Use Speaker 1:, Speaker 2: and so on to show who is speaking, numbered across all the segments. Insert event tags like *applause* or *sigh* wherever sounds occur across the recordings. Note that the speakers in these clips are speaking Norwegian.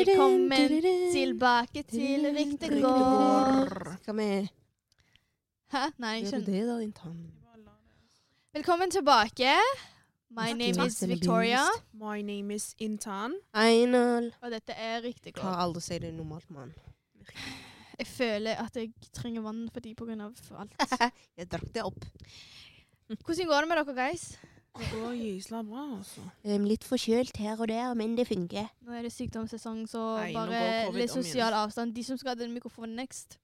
Speaker 1: Velkommen tilbake til Ryktegård.
Speaker 2: Skal vi
Speaker 1: Hæ? Nei, jeg
Speaker 2: gjøre
Speaker 1: skjønner.
Speaker 2: det, da, din tann?
Speaker 1: Velkommen tilbake. My name is Victoria,
Speaker 3: My name is Intan.
Speaker 2: Einal.
Speaker 1: og dette er Ryktegård.
Speaker 2: Klarer aldri å si det normalt, mann.
Speaker 1: Jeg føler at jeg trenger vann fordi på grunn av alt.
Speaker 2: Jeg drakk det opp.
Speaker 1: Hvordan går det med dere, guys?
Speaker 3: Det går gysla bra, altså.
Speaker 2: Um, litt forkjølt her og der, men det funker.
Speaker 1: Nå er det sykdomssesong, så
Speaker 3: Nei, nå går
Speaker 1: bare
Speaker 3: covid
Speaker 1: litt
Speaker 3: om igjen. Mm.
Speaker 1: sosial avstand. De som skal ha den mikrofonen next,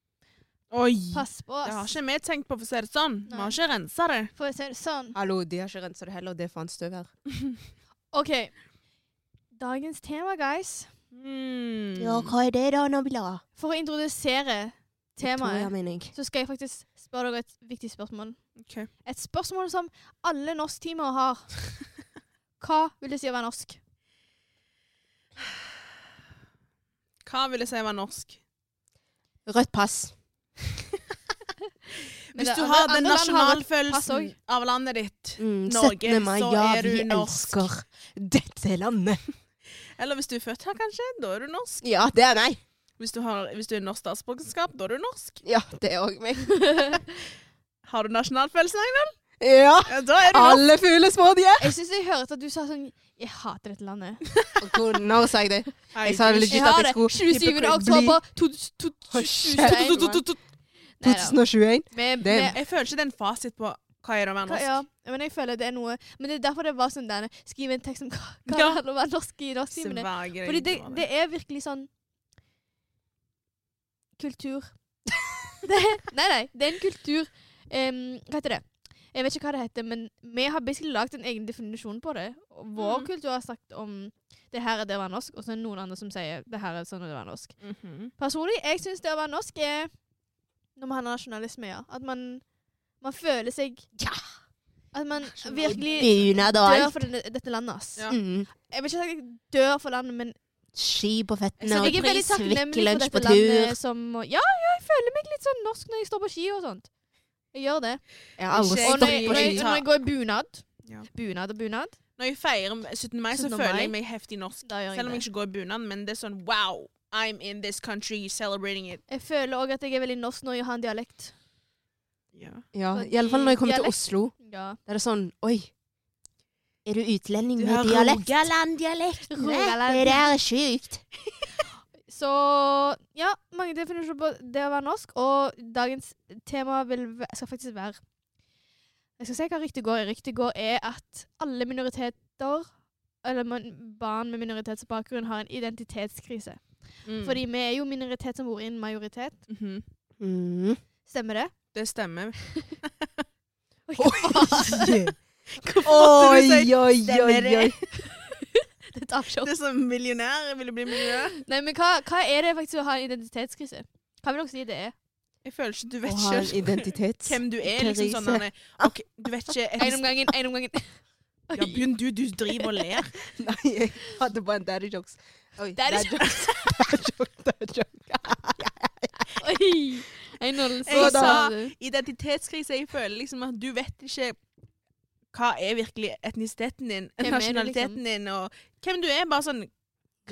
Speaker 3: Oi!
Speaker 1: pass på
Speaker 3: Det har
Speaker 1: oss.
Speaker 3: ikke vi tenkt på, for å si det sånn. Vi
Speaker 1: Nei.
Speaker 3: har ikke rensa det.
Speaker 1: For å si det sånn.
Speaker 2: Hallo, de har ikke rensa det heller, det er faen støv her.
Speaker 1: OK. Dagens tema, guys.
Speaker 3: Mm.
Speaker 2: hva er det da, Nabila?
Speaker 1: For å introdusere temaet
Speaker 2: Victoria, mener jeg.
Speaker 1: så skal jeg faktisk spørre dere et viktig spørsmål.
Speaker 3: Ok.
Speaker 1: Et spørsmål som alle norsktimer
Speaker 3: *laughs*
Speaker 1: har. Hva vil det si å være norsk?
Speaker 3: Hva vil jeg si var norsk?
Speaker 2: Rødt pass.
Speaker 1: Men
Speaker 3: Hvis
Speaker 1: altså, det-
Speaker 3: du
Speaker 1: andre-
Speaker 3: har den
Speaker 1: andre land har rødt pass
Speaker 3: nasjonalfølelsen
Speaker 1: også.
Speaker 3: av landet ditt,
Speaker 2: Mm,
Speaker 3: Norge,
Speaker 2: 17. mai,
Speaker 3: så
Speaker 2: ja,
Speaker 3: er
Speaker 2: vi
Speaker 3: du norsk.
Speaker 2: elsker dette landet.
Speaker 3: eller hvis du er født her, kanskje, da er du norsk.
Speaker 2: Ja, det er meg.
Speaker 3: Hvis du, har, hvis du er norsk statsborgerskap, da er du norsk.
Speaker 2: Ja, det er òg meg.
Speaker 3: Har du nasjonalfølelsen, Agnar?
Speaker 2: Ja!
Speaker 3: Ja, da er du norsk.
Speaker 2: Alle fugler små de er.
Speaker 1: *laughs* Jeg syns jeg hørte at du sa sånn Jeg hater dette
Speaker 3: *laughs*
Speaker 1: landet.
Speaker 2: Hvor- Når sa jeg det? Jeg sa
Speaker 3: Nei,
Speaker 2: legit-
Speaker 1: Jeg
Speaker 2: at
Speaker 1: har
Speaker 2: jeg
Speaker 1: det.
Speaker 2: skulle
Speaker 1: 27.
Speaker 2: hypokrit-
Speaker 1: oktober
Speaker 2: Hold kjeft.
Speaker 1: 2021.
Speaker 3: du- du- du- du-
Speaker 1: Neida.
Speaker 2: 2021.
Speaker 1: Vi- vi-
Speaker 2: Det-
Speaker 3: Jeg føler ikke det er en fasit på hva er det å være
Speaker 1: hva-
Speaker 3: norsk.
Speaker 1: Ja, men jeg føler det er noe Men det er derfor det var sånn denne Skriv en tekst om hva hva
Speaker 3: Ja.
Speaker 1: det handler om å være norsk i norsktimene.
Speaker 3: Svage
Speaker 1: Fordi det,
Speaker 3: greier.
Speaker 1: det er virkelig sånn Kultur. *laughs* det, nei, nei. Det er en kultur em, Hva heter det? Jeg vet ikke hva det heter, men vi har basically lagd en egen definisjon på det. Og Vår
Speaker 3: Mhm.
Speaker 1: kultur har sagt om det her er det å være norsk, og så er det noen andre som sier det her er sånn det å være norsk.
Speaker 3: Mhm.
Speaker 1: Personlig, jeg syns det å være norsk er når man har nasjonalisme, ja. At man, man føler seg
Speaker 2: Ja.
Speaker 1: At man
Speaker 3: Nasjonal-
Speaker 1: virkelig
Speaker 2: Bunad og
Speaker 1: dør
Speaker 2: alt.
Speaker 1: for denne, dette landet, ass.
Speaker 3: Ja.
Speaker 2: Mm.
Speaker 1: Jeg vil ikke si at jeg dør for landet, men
Speaker 2: Ski på
Speaker 1: så
Speaker 2: føttene og
Speaker 1: jeg er veldig
Speaker 2: pris,
Speaker 1: takknemlig for
Speaker 2: vikkelunsj på
Speaker 1: dette
Speaker 2: tur.
Speaker 1: landet som Ja, ja, jeg føler meg litt sånn norsk når jeg står på ski og sånt. Jeg gjør det.
Speaker 2: Jeg har aldri
Speaker 3: Ikke-
Speaker 1: Og
Speaker 2: stått
Speaker 1: når
Speaker 3: jeg-
Speaker 1: jeg,
Speaker 2: på
Speaker 1: når jeg,
Speaker 2: ski.
Speaker 1: når jeg går i bunad
Speaker 3: Ja.
Speaker 1: Bunad og bunad.
Speaker 3: Når jeg feirer 17. mai, så
Speaker 1: 17.
Speaker 3: føler
Speaker 1: mai.
Speaker 3: jeg meg heftig norsk.
Speaker 1: Da gjør
Speaker 3: Selv
Speaker 1: jeg
Speaker 3: om jeg
Speaker 1: det.
Speaker 3: ikke går i bunad, men det er sånn wow, I'm in this country, celebrating it.
Speaker 1: Jeg føler òg at jeg er veldig norsk når jeg har en dialekt.
Speaker 2: Ja,
Speaker 1: Fordi
Speaker 2: i alle fall når jeg kommer til
Speaker 1: dialekt-
Speaker 2: Oslo.
Speaker 1: Ja.
Speaker 2: Da er det sånn Oi. Er du utlending
Speaker 3: Du har
Speaker 2: med dialekt? Rogaland-dialekt.
Speaker 1: Rogaland.
Speaker 2: Det der er sjukt.
Speaker 1: Så ja, mange definisjoner på det å være norsk, og dagens tema vil, væ- skal faktisk være Jeg skal si hva ryktet går i. Ryktet går er at alle minoriteter, eller man- barn med minoritetsbakgrunn, har en identitetskrise.
Speaker 3: Mm.
Speaker 1: Fordi vi er jo minoritet som bor i en majoritet.
Speaker 3: Mhm.
Speaker 1: *laughs*
Speaker 2: Mm.
Speaker 1: Stemmer det?
Speaker 3: Det stemmer.
Speaker 2: Oi, *laughs*
Speaker 3: måtte du si
Speaker 2: oi, oi,
Speaker 3: stemmer
Speaker 2: oi.
Speaker 3: det?
Speaker 1: Det tar show.
Speaker 3: *laughs* Det er som millionær. Jeg ville bli millionær.
Speaker 1: *laughs* Nei, men hva, hva er det faktisk å ha en identitetskrise? Hva vil dere si det er?
Speaker 3: Jeg føler ikke Du
Speaker 2: Å
Speaker 3: vet
Speaker 2: ha en
Speaker 3: ikke
Speaker 2: identitet.
Speaker 3: hvem du er. liksom
Speaker 2: Krise.
Speaker 3: sånn Anne. Ok, Du vet ikke
Speaker 1: Én om gangen, én om gangen.
Speaker 3: ja, Begynn du. Du driver og ler.
Speaker 2: *laughs* Nei, jeg hadde bare en daddy jokes. Oi,
Speaker 1: Daddy
Speaker 2: jokes. *laughs* Dad joke, dad joke.
Speaker 1: Oi! Einhold, så
Speaker 3: Jeg
Speaker 1: sa
Speaker 3: sa-
Speaker 1: du.
Speaker 3: Identitetskrise. Jeg føler liksom at du vet ikke hva er virkelig etnisiteten din,
Speaker 1: er du,
Speaker 3: nasjonaliteten din, og hvem du er. Bare sånn
Speaker 2: liksom?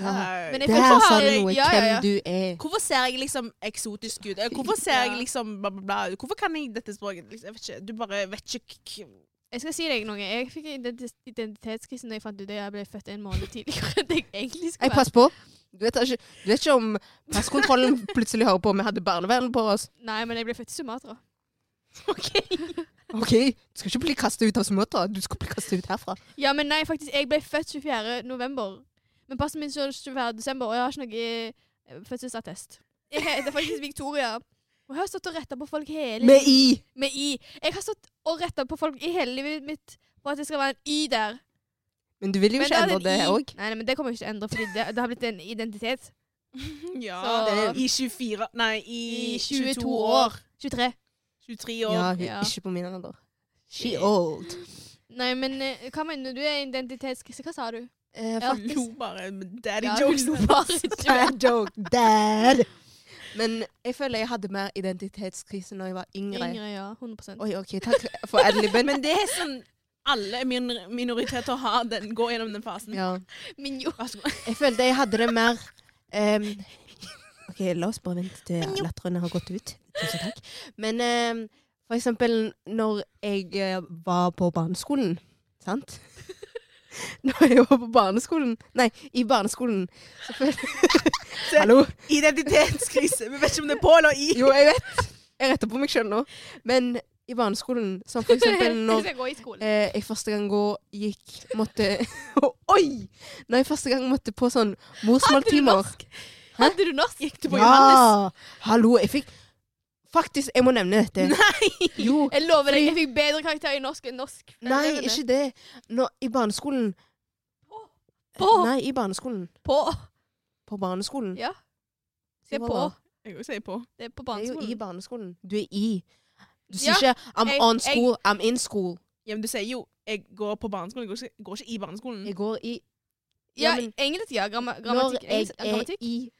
Speaker 2: Ja.
Speaker 3: hva-
Speaker 1: Men jeg føler
Speaker 2: Der
Speaker 1: så
Speaker 2: sa
Speaker 1: har
Speaker 2: du
Speaker 1: jeg
Speaker 2: noe.
Speaker 1: ja, ja, ja.
Speaker 2: Hvem du er.
Speaker 3: Hvorfor ser jeg liksom eksotisk ut? Eller Hvorfor ser
Speaker 1: Ja.
Speaker 3: jeg liksom bla, bla, bla? Hvorfor kan jeg dette språket? Liksom, Jeg vet ikke. Du bare vet ikke k- k-
Speaker 1: Jeg skal si deg noe. Jeg fikk identi- identitetskrise da jeg fant ut at jeg ble født en måned tidligere enn jeg egentlig
Speaker 2: Jeg
Speaker 1: skulle
Speaker 2: passer på. Du vet, ikke, du vet ikke om passkontrollen
Speaker 1: *laughs*
Speaker 2: plutselig hører på. Vi hadde barnevern på oss.
Speaker 1: Nei, men jeg ble født i Sumatra.
Speaker 2: Ok, Du skal ikke bli kastet ut av Sumatra. Du skal bli kastet ut herfra.
Speaker 1: Ja, men nei, faktisk. Jeg ble født 24. november. Men passen min står 24. desember, og jeg har ikke noe eh, fødselsattest. *laughs* Jeg heter faktisk Victoria. Og jeg har stått og retta på folk hele
Speaker 2: Med i.
Speaker 1: Med i. Jeg har stått og retta på folk i hele livet mitt på at det skal være en i der.
Speaker 2: Men du vil jo
Speaker 1: Men
Speaker 2: ikke
Speaker 1: da er
Speaker 2: endre det
Speaker 1: en i.
Speaker 2: òg.
Speaker 1: Nei, nei, men det kommer jeg ikke til å endre, fordi det, det har blitt en identitet.
Speaker 3: Ja.
Speaker 1: Så
Speaker 3: I 24 Nei, i,
Speaker 1: I 22 år.
Speaker 3: år.
Speaker 1: 23.
Speaker 3: 23 år.
Speaker 2: *laughs* Ja, hun
Speaker 1: Ja.
Speaker 2: er ikke på min alder. Eh, She
Speaker 3: Shit.
Speaker 2: old.
Speaker 1: Nei, men eh, hva mener du er identitetskrise? Hva sa du?
Speaker 2: Eh, *laughs*
Speaker 1: Ja.
Speaker 3: Jeg Lo bare med daddy
Speaker 1: Ja, *laughs*
Speaker 3: jokes.
Speaker 1: hun lo bare ikke.
Speaker 2: Dad joke, dad! Men jeg føler jeg hadde mer identitetskrise når jeg var yngre.
Speaker 1: Yngre, ja. 100
Speaker 2: Oi, ok, takk for adliben.
Speaker 3: Men det er sånn alle min minoriteter har den, går gjennom den fasen.
Speaker 2: Ja.
Speaker 1: Men jo.
Speaker 2: Altså,
Speaker 3: Vær så god.
Speaker 2: Jeg følte jeg hadde det mer Ehm, ok, la oss bare vente til latteren har gått ut. Tusen takk. Men ehm, for eksempel når jeg eh, var på barneskolen, sant? *laughs* Når jeg var på barneskolen, nei, i barneskolen, så *laughs* følte Hallo?
Speaker 3: Identitetskrise. Vi vet ikke om det er på eller i.
Speaker 2: Jo, jeg vet. Jeg retter på meg sjøl nå. Men i barneskolen, som for *laughs* eksempel
Speaker 1: *laughs*
Speaker 2: når
Speaker 1: skal gå i skolen.
Speaker 2: eh, jeg første gang gå, gikk Måtte *laughs* Oi! Når jeg første gang måtte på sånn morsmåltimer.
Speaker 1: Hadde du norsk?
Speaker 3: Gikk du på Johannes?
Speaker 2: Hallo, jeg fikk Faktisk, jeg må
Speaker 1: *laughs*
Speaker 2: nevne dette.
Speaker 3: Nei!
Speaker 2: Jo.
Speaker 1: Jeg lover deg, jeg fikk bedre karakter i norsk enn norsk.
Speaker 2: Nei, ikke det. Nå, I barneskolen
Speaker 1: På!
Speaker 2: Nei, i barneskolen.
Speaker 1: På!
Speaker 2: På barneskolen.
Speaker 1: Ja. Det er
Speaker 2: Hva
Speaker 1: på.
Speaker 2: da?
Speaker 3: Jeg kan jo si på.
Speaker 1: Det er på
Speaker 2: Det er jo i
Speaker 1: barneskolen.
Speaker 2: barneskolen. Du er i. Du
Speaker 1: Ja,
Speaker 2: sier ikke 'I'm
Speaker 1: jeg-
Speaker 2: on
Speaker 1: jeg-
Speaker 2: school', 'I'm in school'.
Speaker 3: Ja, men du sier jo 'jeg går på barneskolen', jeg går ikke, går ikke i barneskolen.
Speaker 2: Jeg går i
Speaker 1: Ja,
Speaker 2: Ja, men-
Speaker 1: engelsk, ja. Gramma,
Speaker 2: Når
Speaker 1: Mm. grammatikk.
Speaker 2: jeg
Speaker 1: engelsk- ja,
Speaker 2: er
Speaker 1: grammatikk.
Speaker 2: i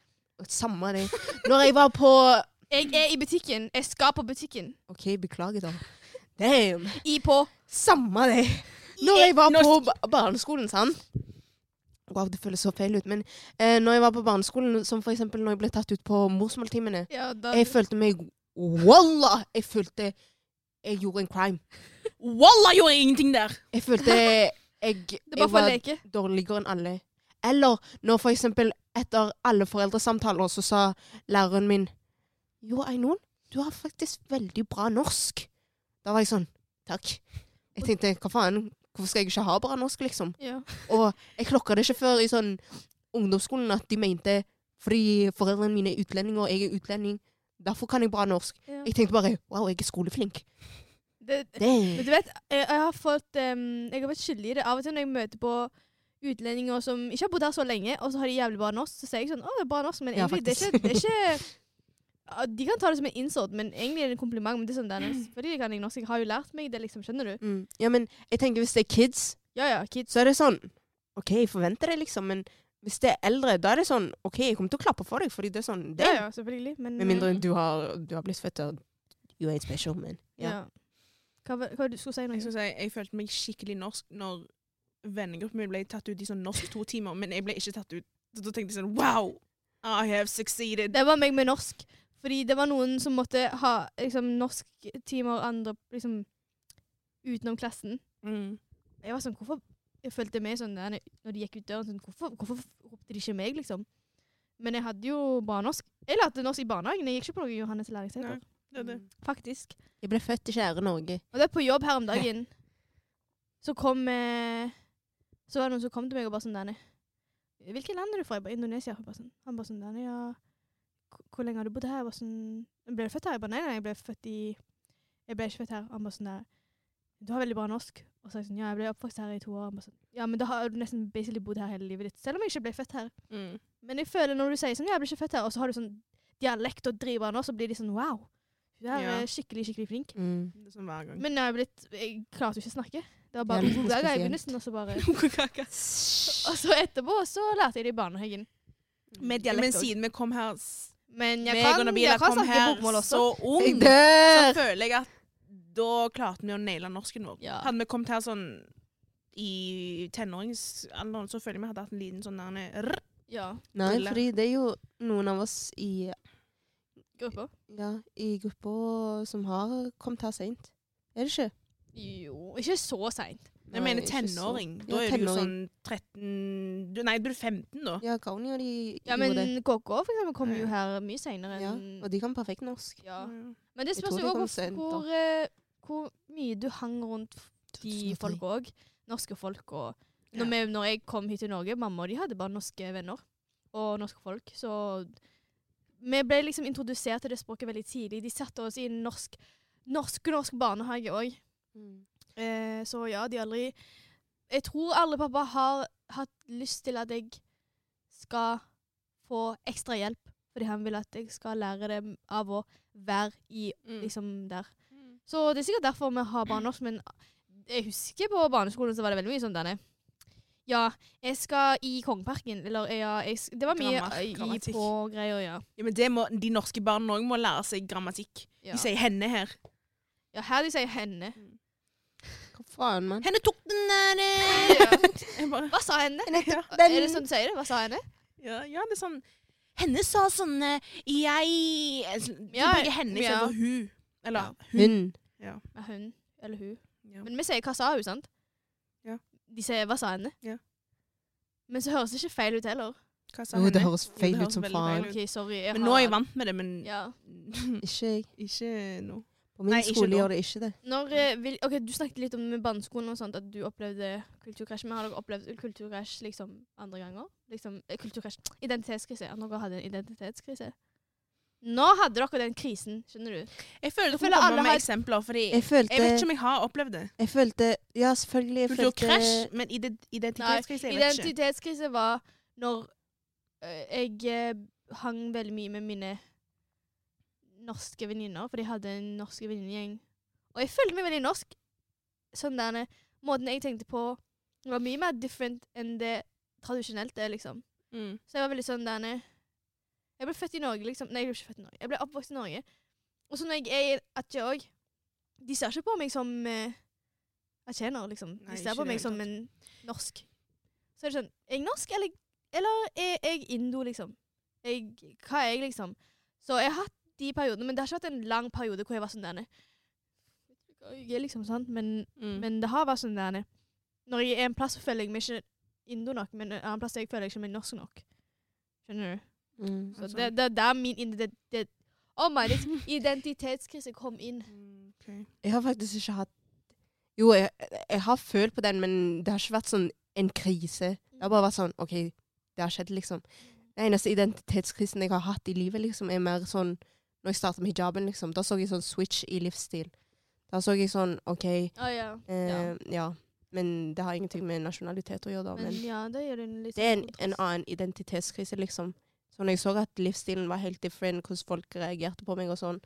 Speaker 2: Samme det. Når jeg var på
Speaker 1: Jeg er i butikken. Jeg skal på butikken.
Speaker 2: OK, beklager,
Speaker 1: *laughs*
Speaker 2: da. Damn.
Speaker 1: I på.
Speaker 2: Samme det. Når
Speaker 1: Eh,
Speaker 2: jeg var
Speaker 3: Når-
Speaker 2: på ba- barneskolen, sant Wow, det føles så feil ut, men eh, når jeg var på barneskolen, som for eksempel når jeg ble tatt ut på morsmåltimene
Speaker 1: Ja, da,
Speaker 2: Jeg følte meg Wallah! Jeg følte jeg gjorde en crime.
Speaker 3: Wallah, gjorde jeg ingenting der!
Speaker 2: Jeg
Speaker 1: *laughs*
Speaker 2: følte jeg,
Speaker 1: det er
Speaker 2: jeg
Speaker 1: bare for å
Speaker 2: var
Speaker 1: leke.
Speaker 2: dårligere enn alle. Eller når for eksempel etter alle foreldresamtaler så sa læreren min Jo, Einon, du har faktisk veldig bra norsk. Da var jeg sånn Takk. Jeg tenkte hva faen, hvorfor skal jeg ikke ha bra norsk, liksom?
Speaker 1: Ja.
Speaker 2: Og jeg klokka det ikke før i sånn ungdomsskolen at de mente fordi foreldrene mine er utlendinger og jeg er utlending, derfor kan jeg bra norsk.
Speaker 1: Ja.
Speaker 2: Jeg tenkte bare wow, jeg er skoleflink.
Speaker 1: Det, Men
Speaker 2: Det
Speaker 1: du vet, jeg, jeg har fått ehm, Jeg har vært skyldig i det av og til når jeg møter på utlendinger som ikke har bodd her så lenge, og så har de jævlig bra norsk, så sier jeg sånn 'Å, det er bra norsk', men
Speaker 2: Ja,
Speaker 1: egentlig det er ikke, det er
Speaker 2: *laughs*
Speaker 1: ikke Ja, De kan ta det som en insult, men egentlig er det en kompliment. Men det er sånn, det er norsk, fordi jeg kan jeg norsk, jeg har jo lært meg det, liksom. Skjønner du?
Speaker 2: mm. Ja, men jeg tenker hvis det er kids,
Speaker 1: Ja ja, kids.
Speaker 2: så er det sånn OK, jeg forventer det, liksom, men hvis det er eldre, da er det sånn OK, jeg kommer til å klappe for deg, fordi det er sånn det.
Speaker 1: Ja ja, selvfølgelig. Men eh,
Speaker 2: Med mindre du har, du har blitt født og You ain't special, men
Speaker 1: ja.
Speaker 2: ja.
Speaker 1: Hva, var- hva var det du skulle si nå?
Speaker 3: Jeg skal si, jeg følte meg skikkelig norsk når vennegruppen min ble tatt ut i sånn norsk to timer, men jeg ble ikke tatt ut. Så da tenkte jeg sånn wow! I have succeeded.
Speaker 1: Det var meg med norsk. Fordi det var noen som måtte ha liksom, norsktimer andre liksom, utenom klassen.
Speaker 3: Mm.
Speaker 1: Jeg var sånn, hvorfor Jeg følte meg sånn der når de gikk ut døren. Sånn, hvorfor, hvorfor ropte de ikke meg, liksom? Men jeg hadde jo bare norsk. Jeg lærte norsk i barnehagen. Jeg gikk ikke på noe Johannes
Speaker 3: Nei.
Speaker 1: Læringssenter.
Speaker 3: Det er det.
Speaker 1: Faktisk.
Speaker 2: Jeg ble født i kjære Norge.
Speaker 1: Og det er på jobb her om dagen. Så kom eh, Så var det noen som kom til meg og bare sånn Danny Hvilket land er du fra? Jeg bare Indonesia. Jeg bare sånn. Han bare sånn Danny, ja hvor- Hvor lenge har du bodd her? Jeg bare sånn Ble du født her? Jeg bare nei, nei, jeg ble født i Jeg ble ikke født her. Han bare sånn der Du har veldig bra norsk. Og så er jeg sånn Ja, jeg ble oppvokst her i to år. Han bare sånn Ja, men da har du nesten basically bodd her hele livet ditt. Selv om jeg ikke ble født her.
Speaker 3: Mm.
Speaker 1: Men jeg føler når du sier sånn Ja, jeg ble ikke født her, og så har du sånn dialekt og driver nå, så blir de sånn Wow. Du er
Speaker 3: Ja.
Speaker 1: eh, skikkelig, skikkelig flink.
Speaker 2: Mm.
Speaker 3: Det er sånn hver *laughs* gang.
Speaker 1: Men jeg, har blitt, jeg klarte jo ikke å snakke. Det var bare
Speaker 2: Det er litt
Speaker 1: gaga i
Speaker 2: spesielt.
Speaker 1: begynnelsen, og så bare
Speaker 2: Mm.
Speaker 1: Og så etterpå så lærte jeg det i barnehagen. Med
Speaker 3: Ja, men
Speaker 1: dialekt òg.
Speaker 3: siden vi kom her s-
Speaker 1: Men jeg
Speaker 3: meg og
Speaker 1: kan,
Speaker 3: Nabila
Speaker 1: jeg kan
Speaker 3: kom
Speaker 1: snakke
Speaker 3: her
Speaker 1: bokmål også.
Speaker 3: så ung,
Speaker 2: Jeg
Speaker 3: så
Speaker 2: dør!
Speaker 3: føler jeg at da klarte vi å naile norsken vår.
Speaker 1: Ja.
Speaker 3: Hadde vi kommet her sånn i tenåringsalderen, så føler jeg vi hadde hatt en liten sånn der rr.
Speaker 1: Ja,
Speaker 2: Nei,
Speaker 3: Brille.
Speaker 2: fordi det er jo noen av oss i,
Speaker 1: grupper.
Speaker 2: ja, i gruppa som har kommet her seint. Er det ikke?
Speaker 1: Jo, ikke så seint.
Speaker 2: Nei,
Speaker 3: Jeg mener
Speaker 2: ikke så.
Speaker 3: tenåring.
Speaker 2: Ja,
Speaker 3: Da er du jo sånn
Speaker 2: tenåring.
Speaker 3: 13 du, Nei, du er 15 da.
Speaker 2: Ja, Gauni og de
Speaker 1: Ja, men
Speaker 2: gjorde det.
Speaker 1: KK for eksempel kommer jo her mye seinere
Speaker 2: Ja,
Speaker 1: enn
Speaker 2: og de kan perfekt norsk.
Speaker 1: ja.
Speaker 3: Mm.
Speaker 1: Men det
Speaker 2: Jeg
Speaker 1: spørs
Speaker 2: tror
Speaker 1: jo
Speaker 2: det kom
Speaker 1: også
Speaker 2: sent, da.
Speaker 1: hvor, eh, hvor mye du hang rundt de
Speaker 2: 2003.
Speaker 1: folk òg. Norske folk og
Speaker 3: Ja.
Speaker 1: når, vi, når jeg kom hit til Norge, mamma og de hadde bare norske venner og norske folk. Så vi ble liksom introdusert til det språket veldig tidlig. De satte oss i en norsk, norsk, norsk barnehage òg.
Speaker 2: Mm.
Speaker 1: Eh, så ja, de har aldri Jeg tror alle pappa har hatt lyst til at jeg skal få ekstra hjelp. Fordi han vil at jeg skal lære det av å være i liksom der.
Speaker 3: Mm.
Speaker 1: Så det er sikkert derfor vi har barnenorsk, men jeg husker på barneskolen så var det veldig mye sånn denne. Ja, jeg skal i Kongeparken, eller ja, jeg, sk- det var mye
Speaker 3: Grammar,
Speaker 1: eh, i
Speaker 3: grammatikk.
Speaker 1: på greier, ja.
Speaker 3: Ja, men det må, De norske barna òg må lære seg grammatikk.
Speaker 1: Ja,
Speaker 3: De sier 'henne' her.
Speaker 1: ja her de sier henne.
Speaker 2: Hva faen, mann?
Speaker 3: 'Henne tok den der eh.
Speaker 1: Ja.
Speaker 3: Jeg bare,
Speaker 1: *laughs* Hva sa henne?
Speaker 2: Nettopp
Speaker 1: Er det
Speaker 2: den-
Speaker 1: sånn du sier det? Hva sa henne?
Speaker 3: ja, ja, det er sånn Henne sa sånne Jeg altså, Du
Speaker 1: Ja,
Speaker 3: bruker henne
Speaker 1: ja.
Speaker 3: istedenfor hun. Eller hun.
Speaker 2: Hun.
Speaker 1: Ja, hun eller hun.
Speaker 3: Ja.
Speaker 1: Men vi sier 'hva sa hun', sant?
Speaker 3: Ja.
Speaker 1: De sier 'hva sa henne'?
Speaker 3: Ja.
Speaker 1: Men så høres det ikke feil ut heller.
Speaker 3: Hva sa
Speaker 2: Jo, det
Speaker 3: henne?
Speaker 2: høres feil
Speaker 3: det
Speaker 2: ut som
Speaker 3: høres veldig
Speaker 2: faen.
Speaker 3: feil ut.
Speaker 1: OK, sorry. Jeg
Speaker 3: Men nå er jeg
Speaker 1: har-
Speaker 3: vant med det, men
Speaker 1: Ja.
Speaker 2: Ikke jeg.
Speaker 3: *laughs* ikke nå.
Speaker 2: På min
Speaker 3: Nei, ikke
Speaker 2: skole
Speaker 3: nå.
Speaker 2: gjør det ikke det.
Speaker 1: Når, eh, vil, ok, Du snakket litt om med barneskolen og sånt, at du opplevde kulturkrasj. Men har dere opplevd kulturkrasj liksom andre ganger? Liksom, eh, kulturkrasj, Identitetskrise. At dere hadde en identitetskrise. Nå hadde dere den krisen, skjønner du.
Speaker 3: Jeg føler
Speaker 1: føler
Speaker 3: dere må
Speaker 1: alle
Speaker 3: komme med
Speaker 1: har-
Speaker 3: eksempler, fordi
Speaker 2: Jeg følte
Speaker 3: jeg vet ikke om jeg har opplevd det.
Speaker 2: Jeg følte Ja, selvfølgelig. Jeg eh, følte
Speaker 3: Kulturkrasj, men ide- identitetskrise, jeg vet ikke.
Speaker 1: Identitetskrise var når eh, jeg eh, hang veldig mye med mine norske venninner, for de hadde en norsk venninnegjeng. Og jeg følte meg veldig norsk. Sånn der, Måten jeg tenkte på, var mye mer different enn det tradisjonelt er, liksom.
Speaker 3: Mm.
Speaker 1: Så jeg var veldig sånn der nede. Jeg ble født i Norge, liksom. Nei, jeg ble ikke født i Norge. Jeg ble oppvokst i Norge. Og så når jeg er i Atje òg De ser ikke på meg som eh, atjener, liksom. De
Speaker 3: Nei,
Speaker 1: ser
Speaker 3: ikke
Speaker 1: på
Speaker 3: i det
Speaker 1: meg
Speaker 3: hele
Speaker 1: som
Speaker 3: tatt.
Speaker 1: en norsk. Så er det sånn Er jeg norsk, eller, eller er jeg indo, liksom? Jeg, hva er jeg, liksom? Så jeg har hatt de periodene, men det har ikke vært en lang periode hvor jeg var sånn der nede. Jeg er liksom sant, men
Speaker 3: Mm.
Speaker 1: men det har vært sånn der Når jeg er en plass, så føler jeg meg ikke indo nok, men en annen plass jeg føler jeg ikke meg norsk nok. Skjønner du?
Speaker 2: Mm.
Speaker 1: Så det, det, det er min identitet... Oh my, det- identitetskrise kom inn.
Speaker 3: Mm, ok.
Speaker 2: Jeg har faktisk ikke hatt Jo, jeg, jeg har følt på den, men det har ikke vært sånn en krise. Det har bare vært sånn OK, det har skjedd, liksom. Den eneste identitetskrisen jeg har hatt i livet, liksom, er mer sånn når jeg startet med hijaben, liksom. Da så jeg sånn switch i livsstil. Da så jeg sånn OK, eh,
Speaker 1: Å ja.
Speaker 2: ja.
Speaker 1: Ja.
Speaker 2: Men det har ingenting med nasjonalitet å gjøre, da.
Speaker 1: Men
Speaker 2: Men
Speaker 1: ja, det gjør en litt sånn
Speaker 2: det er en,
Speaker 1: kontrast.
Speaker 2: en annen identitetskrise, liksom. Så når jeg så at livsstilen var helt different, hvordan folk reagerte på meg og sånn,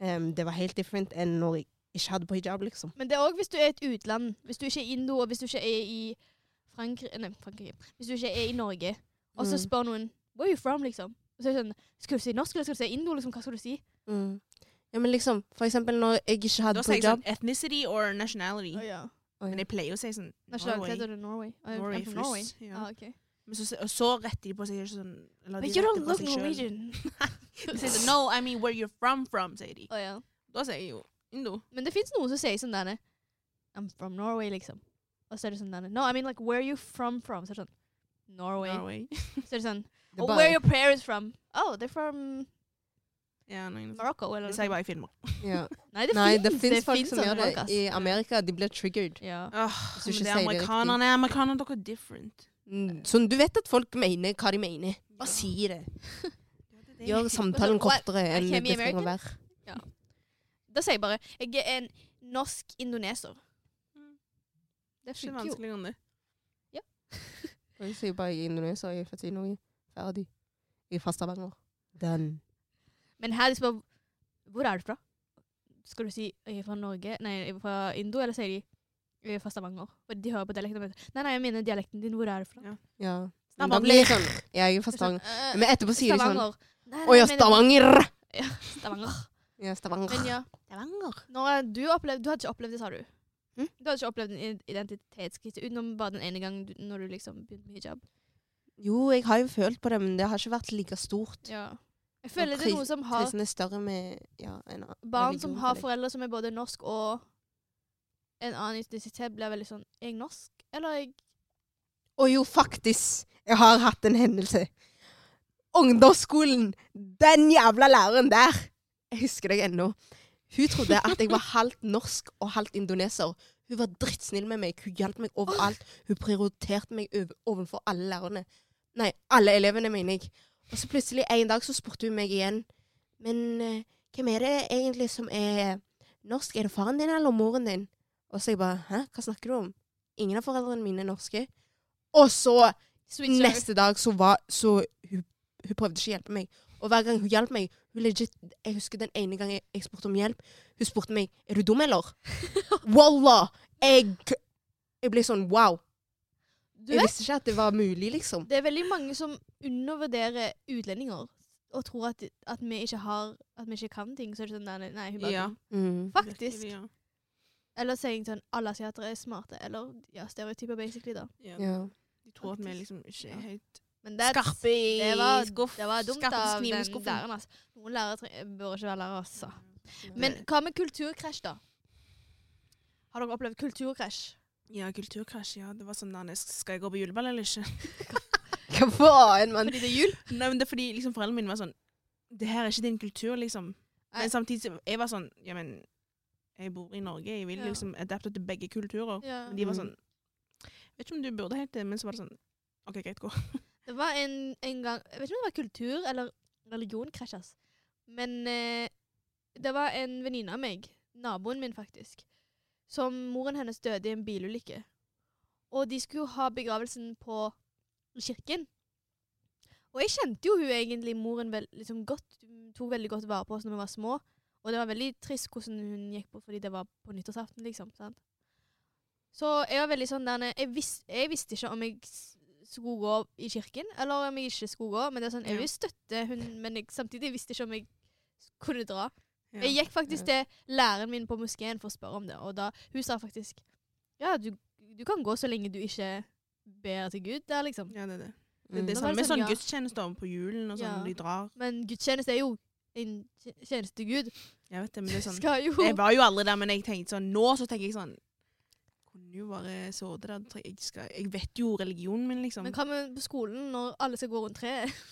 Speaker 2: em, det var helt different enn når jeg ikke hadde på hijab, liksom.
Speaker 1: Men det er òg hvis du er i et utland. Hvis du ikke er indo, og hvis du ikke er i Frankrike Nei, Frankrike. Hvis du ikke er i Norge, og så
Speaker 2: Mm.
Speaker 1: spør noen 'Where are you from?' liksom. Og så er det sånn Skal du si norsk, eller skal du si indo? liksom, Hva skal du si?
Speaker 2: Mm. Ja, men liksom, for eksempel når jeg ikke hadde
Speaker 3: Da
Speaker 2: på
Speaker 3: sier jeg
Speaker 2: hijab
Speaker 3: sånn ethnicity or nationality.
Speaker 1: Å ja.
Speaker 3: Men jeg pleier å si sånn
Speaker 1: Nasjonalitet
Speaker 3: Ah, Norway.
Speaker 1: er det Norway. Å, I'm
Speaker 3: Norway
Speaker 1: from Norway.
Speaker 3: først, ja.
Speaker 1: Ah, ok.
Speaker 3: Men så, og så retter de på seg ikke sånn eller de
Speaker 1: But you
Speaker 3: retter
Speaker 1: don't
Speaker 3: på
Speaker 1: look
Speaker 3: seg selv.
Speaker 1: Norwegian.
Speaker 3: De sier sånn No, I mean where you're from from, sier de.
Speaker 1: Å ja.
Speaker 3: Da sier jeg jo indo.
Speaker 1: Men det fins noen som sier sånn derne I'm from Norway, liksom. Og så er det sånn derne No, I mean like where are you from from? Så er det sånn Norway.
Speaker 3: Norway.
Speaker 1: Så er det sånn
Speaker 2: Det
Speaker 1: Oh,
Speaker 2: bare-
Speaker 1: where are your parents from? Oh, they're from
Speaker 3: Ja, nei, nei.
Speaker 1: Morocco, eller
Speaker 3: Det sier jeg bare i filmer.
Speaker 2: *laughs* ja.
Speaker 1: Nei, det er
Speaker 2: Nei,
Speaker 1: fins.
Speaker 2: det fins folk som
Speaker 1: sånne
Speaker 2: gjør
Speaker 1: folk, ass.
Speaker 2: det. I Amerika, de blir triggered.
Speaker 1: Ja.
Speaker 3: Åh,
Speaker 2: Hvis du ikke
Speaker 3: men
Speaker 2: sier
Speaker 3: det er
Speaker 2: det riktig.
Speaker 3: amerikanerne. Amerikanerne, dere er different.
Speaker 2: Mm. Sånn, du vet at folk mener hva de mener. Bare si det. Gjør sånn. samtalen
Speaker 1: Men så, what?
Speaker 2: kortere
Speaker 1: I
Speaker 2: enn det
Speaker 1: can't be
Speaker 2: trenger å være.
Speaker 1: Da sier jeg bare Jeg er en norsk indoneser.
Speaker 3: Mm.
Speaker 1: Det er
Speaker 3: Ikke
Speaker 1: funker jo.
Speaker 3: vanskeligere enn det.
Speaker 2: Jeg sier bare i Indonesia, jeg er født i Norge. Ferdig. I Fastervanger. Den.
Speaker 1: Men her de spør Hvor er du fra? Skal du si jeg er fra Norge? Nei, jeg er fra Indo? Eller sier de jeg er fra Stavanger? For de hører på dialekten min. Nei, nei, jeg mener dialekten din. Hvor er du fra?
Speaker 3: Ja.
Speaker 2: Ja. Men da
Speaker 3: Stavanger.
Speaker 2: blir jeg sånn Ja, jeg er fra Stavanger.
Speaker 1: Sånn,
Speaker 2: Men etterpå
Speaker 1: eh,
Speaker 2: sier de sånn
Speaker 1: Stavanger. Nei, nei,
Speaker 2: Å ja,
Speaker 1: men-
Speaker 2: Stavanger!
Speaker 1: Stavanger.
Speaker 2: Ja, Stavanger.
Speaker 1: Men ja,
Speaker 3: Stavanger.
Speaker 1: når du, opplevde, du hadde ikke opplevd det, sa du.
Speaker 2: Mm?
Speaker 1: Du hadde ikke opplevd en i- identitetskrise utenom bare den ene gangen du, når du liksom begynte med hijab.
Speaker 2: Jo, jeg har jo følt på det, men det har ikke vært like stort.
Speaker 1: Jeg føler det er noen som har
Speaker 2: Krisen er større med ja, en annen
Speaker 1: barn
Speaker 2: religion,
Speaker 1: som
Speaker 2: føler
Speaker 1: har
Speaker 2: jeg.
Speaker 1: foreldre som er både norsk og en annen identitet, blir veldig sånn Er jeg norsk, eller er jeg
Speaker 2: Og jo, faktisk. Jeg har hatt en hendelse. Ungdomsskolen. Den jævla læreren der. Jeg husker deg ennå. Hun trodde at jeg var halvt norsk og halvt indoneser. Hun var drittsnill med meg. Hun hjalp meg overalt. Hun prioriterte meg over- overfor alle lærerne. Nei, alle elevene, mener jeg. Og så plutselig en dag så spurte hun meg igjen. Men eh, hvem er det egentlig som er norsk? Er det faren din eller moren din? Og så jeg bare Hæ, hva snakker du om? Ingen av foreldrene mine er norske. Og så
Speaker 1: switcher?
Speaker 2: Neste dag så var så hun, hun prøvde ikke å hjelpe meg. Og hver gang hun hjalp meg hun legit, Jeg husker den ene gangen jeg spurte om hjelp, hun spurte meg er du dum, eller?
Speaker 1: *laughs*
Speaker 2: Wallah! Jeg, jeg ble sånn wow.
Speaker 1: Du
Speaker 2: Jeg
Speaker 1: vet,
Speaker 2: visste ikke at det var mulig, liksom.
Speaker 1: det er veldig mange som undervurderer utlendinger og tror at, at vi ikke har At vi ikke kan ting. Så er det sånn der, Nei, hun bare
Speaker 3: Ja.
Speaker 2: Mm.
Speaker 1: Faktisk.
Speaker 3: Virkelig, ja.
Speaker 1: Eller sier jeg sånn alle asiatere er smarte, eller ja, stereotyper basically, da.
Speaker 3: Ja.
Speaker 2: Ja.
Speaker 3: De tror at vi
Speaker 1: Faktisk.
Speaker 3: liksom ikke
Speaker 1: Ja.
Speaker 3: er helt
Speaker 1: Men det,
Speaker 3: Skarpe i
Speaker 1: det, var,
Speaker 3: skuff.
Speaker 1: det var dumt
Speaker 3: skarpe
Speaker 1: av
Speaker 3: kniv i
Speaker 1: den
Speaker 3: skuffen.
Speaker 1: læreren. Altså. Noen lærere tre- bør ikke være lærere, altså. Men
Speaker 3: Det-
Speaker 1: hva med kulturkrasj, da? Har dere opplevd kulturkrasj?
Speaker 3: Ja, kulturkrasj. Ja. Det var sånn der, Skal jeg gå på juleball eller ikke?
Speaker 2: Hva faen, mann?
Speaker 1: Fordi det er jul?
Speaker 3: Nei, men det er fordi liksom, foreldrene mine var sånn Det her er ikke din kultur, liksom.
Speaker 1: Nei.
Speaker 3: Men samtidig så jeg var sånn Ja, men jeg bor i Norge. Jeg vil
Speaker 1: Ja.
Speaker 3: liksom adapte til begge kulturer.
Speaker 1: Ja.
Speaker 3: Men de var
Speaker 2: Mm.
Speaker 3: sånn Jeg vet ikke om du burde helt det, men så var det sånn OK, greit, gå.
Speaker 1: Det var en, en gang Jeg vet ikke om det var kultur eller religion krasj, ass. Men eh, det var en venninne av meg, naboen min faktisk, som moren hennes døde i en bilulykke. Og de skulle jo ha begravelsen på i kirken. Og jeg kjente jo hun egentlig moren vel, liksom godt. Hun tok veldig godt vare på oss når vi var små. Og det var veldig trist hvordan hun gikk bort fordi det var på nyttårsaften, liksom. sant? Så jeg var veldig sånn der nede- jeg, vis, jeg visste ikke om jeg s- skulle gå i kirken, eller om jeg ikke skulle gå. Men det er sånn, jeg
Speaker 3: Ja.
Speaker 1: vil støtte hun, men jeg, samtidig visste jeg ikke om jeg s- kunne dra.
Speaker 3: Ja.
Speaker 1: Jeg gikk faktisk til læreren min på moskeen for å spørre om det, og da, hun sa faktisk Ja, du, du kan gå så lenge du ikke ber til Gud der, liksom.
Speaker 3: Ja, det er det. Det,
Speaker 2: Mm.
Speaker 3: det
Speaker 1: Da var
Speaker 3: er
Speaker 1: det
Speaker 3: sånn, med
Speaker 1: sånn,
Speaker 3: sånn
Speaker 1: ja.
Speaker 3: gudstjeneste om på julen og sånn,
Speaker 1: Ja.
Speaker 3: når de drar.
Speaker 1: Men gudstjeneste er jo en tje- tjeneste til Gud.
Speaker 3: Jeg vet det, men det er sånn
Speaker 1: Skal jo
Speaker 3: Jeg var jo aldri der, men jeg tenkte sånn Nå så tenker jeg sånn Kunne jo bare så det der. tre- Jeg, skal, jeg vet jo religionen min, liksom.
Speaker 1: Men hva med på skolen når alle skal gå rundt treet?
Speaker 3: *laughs*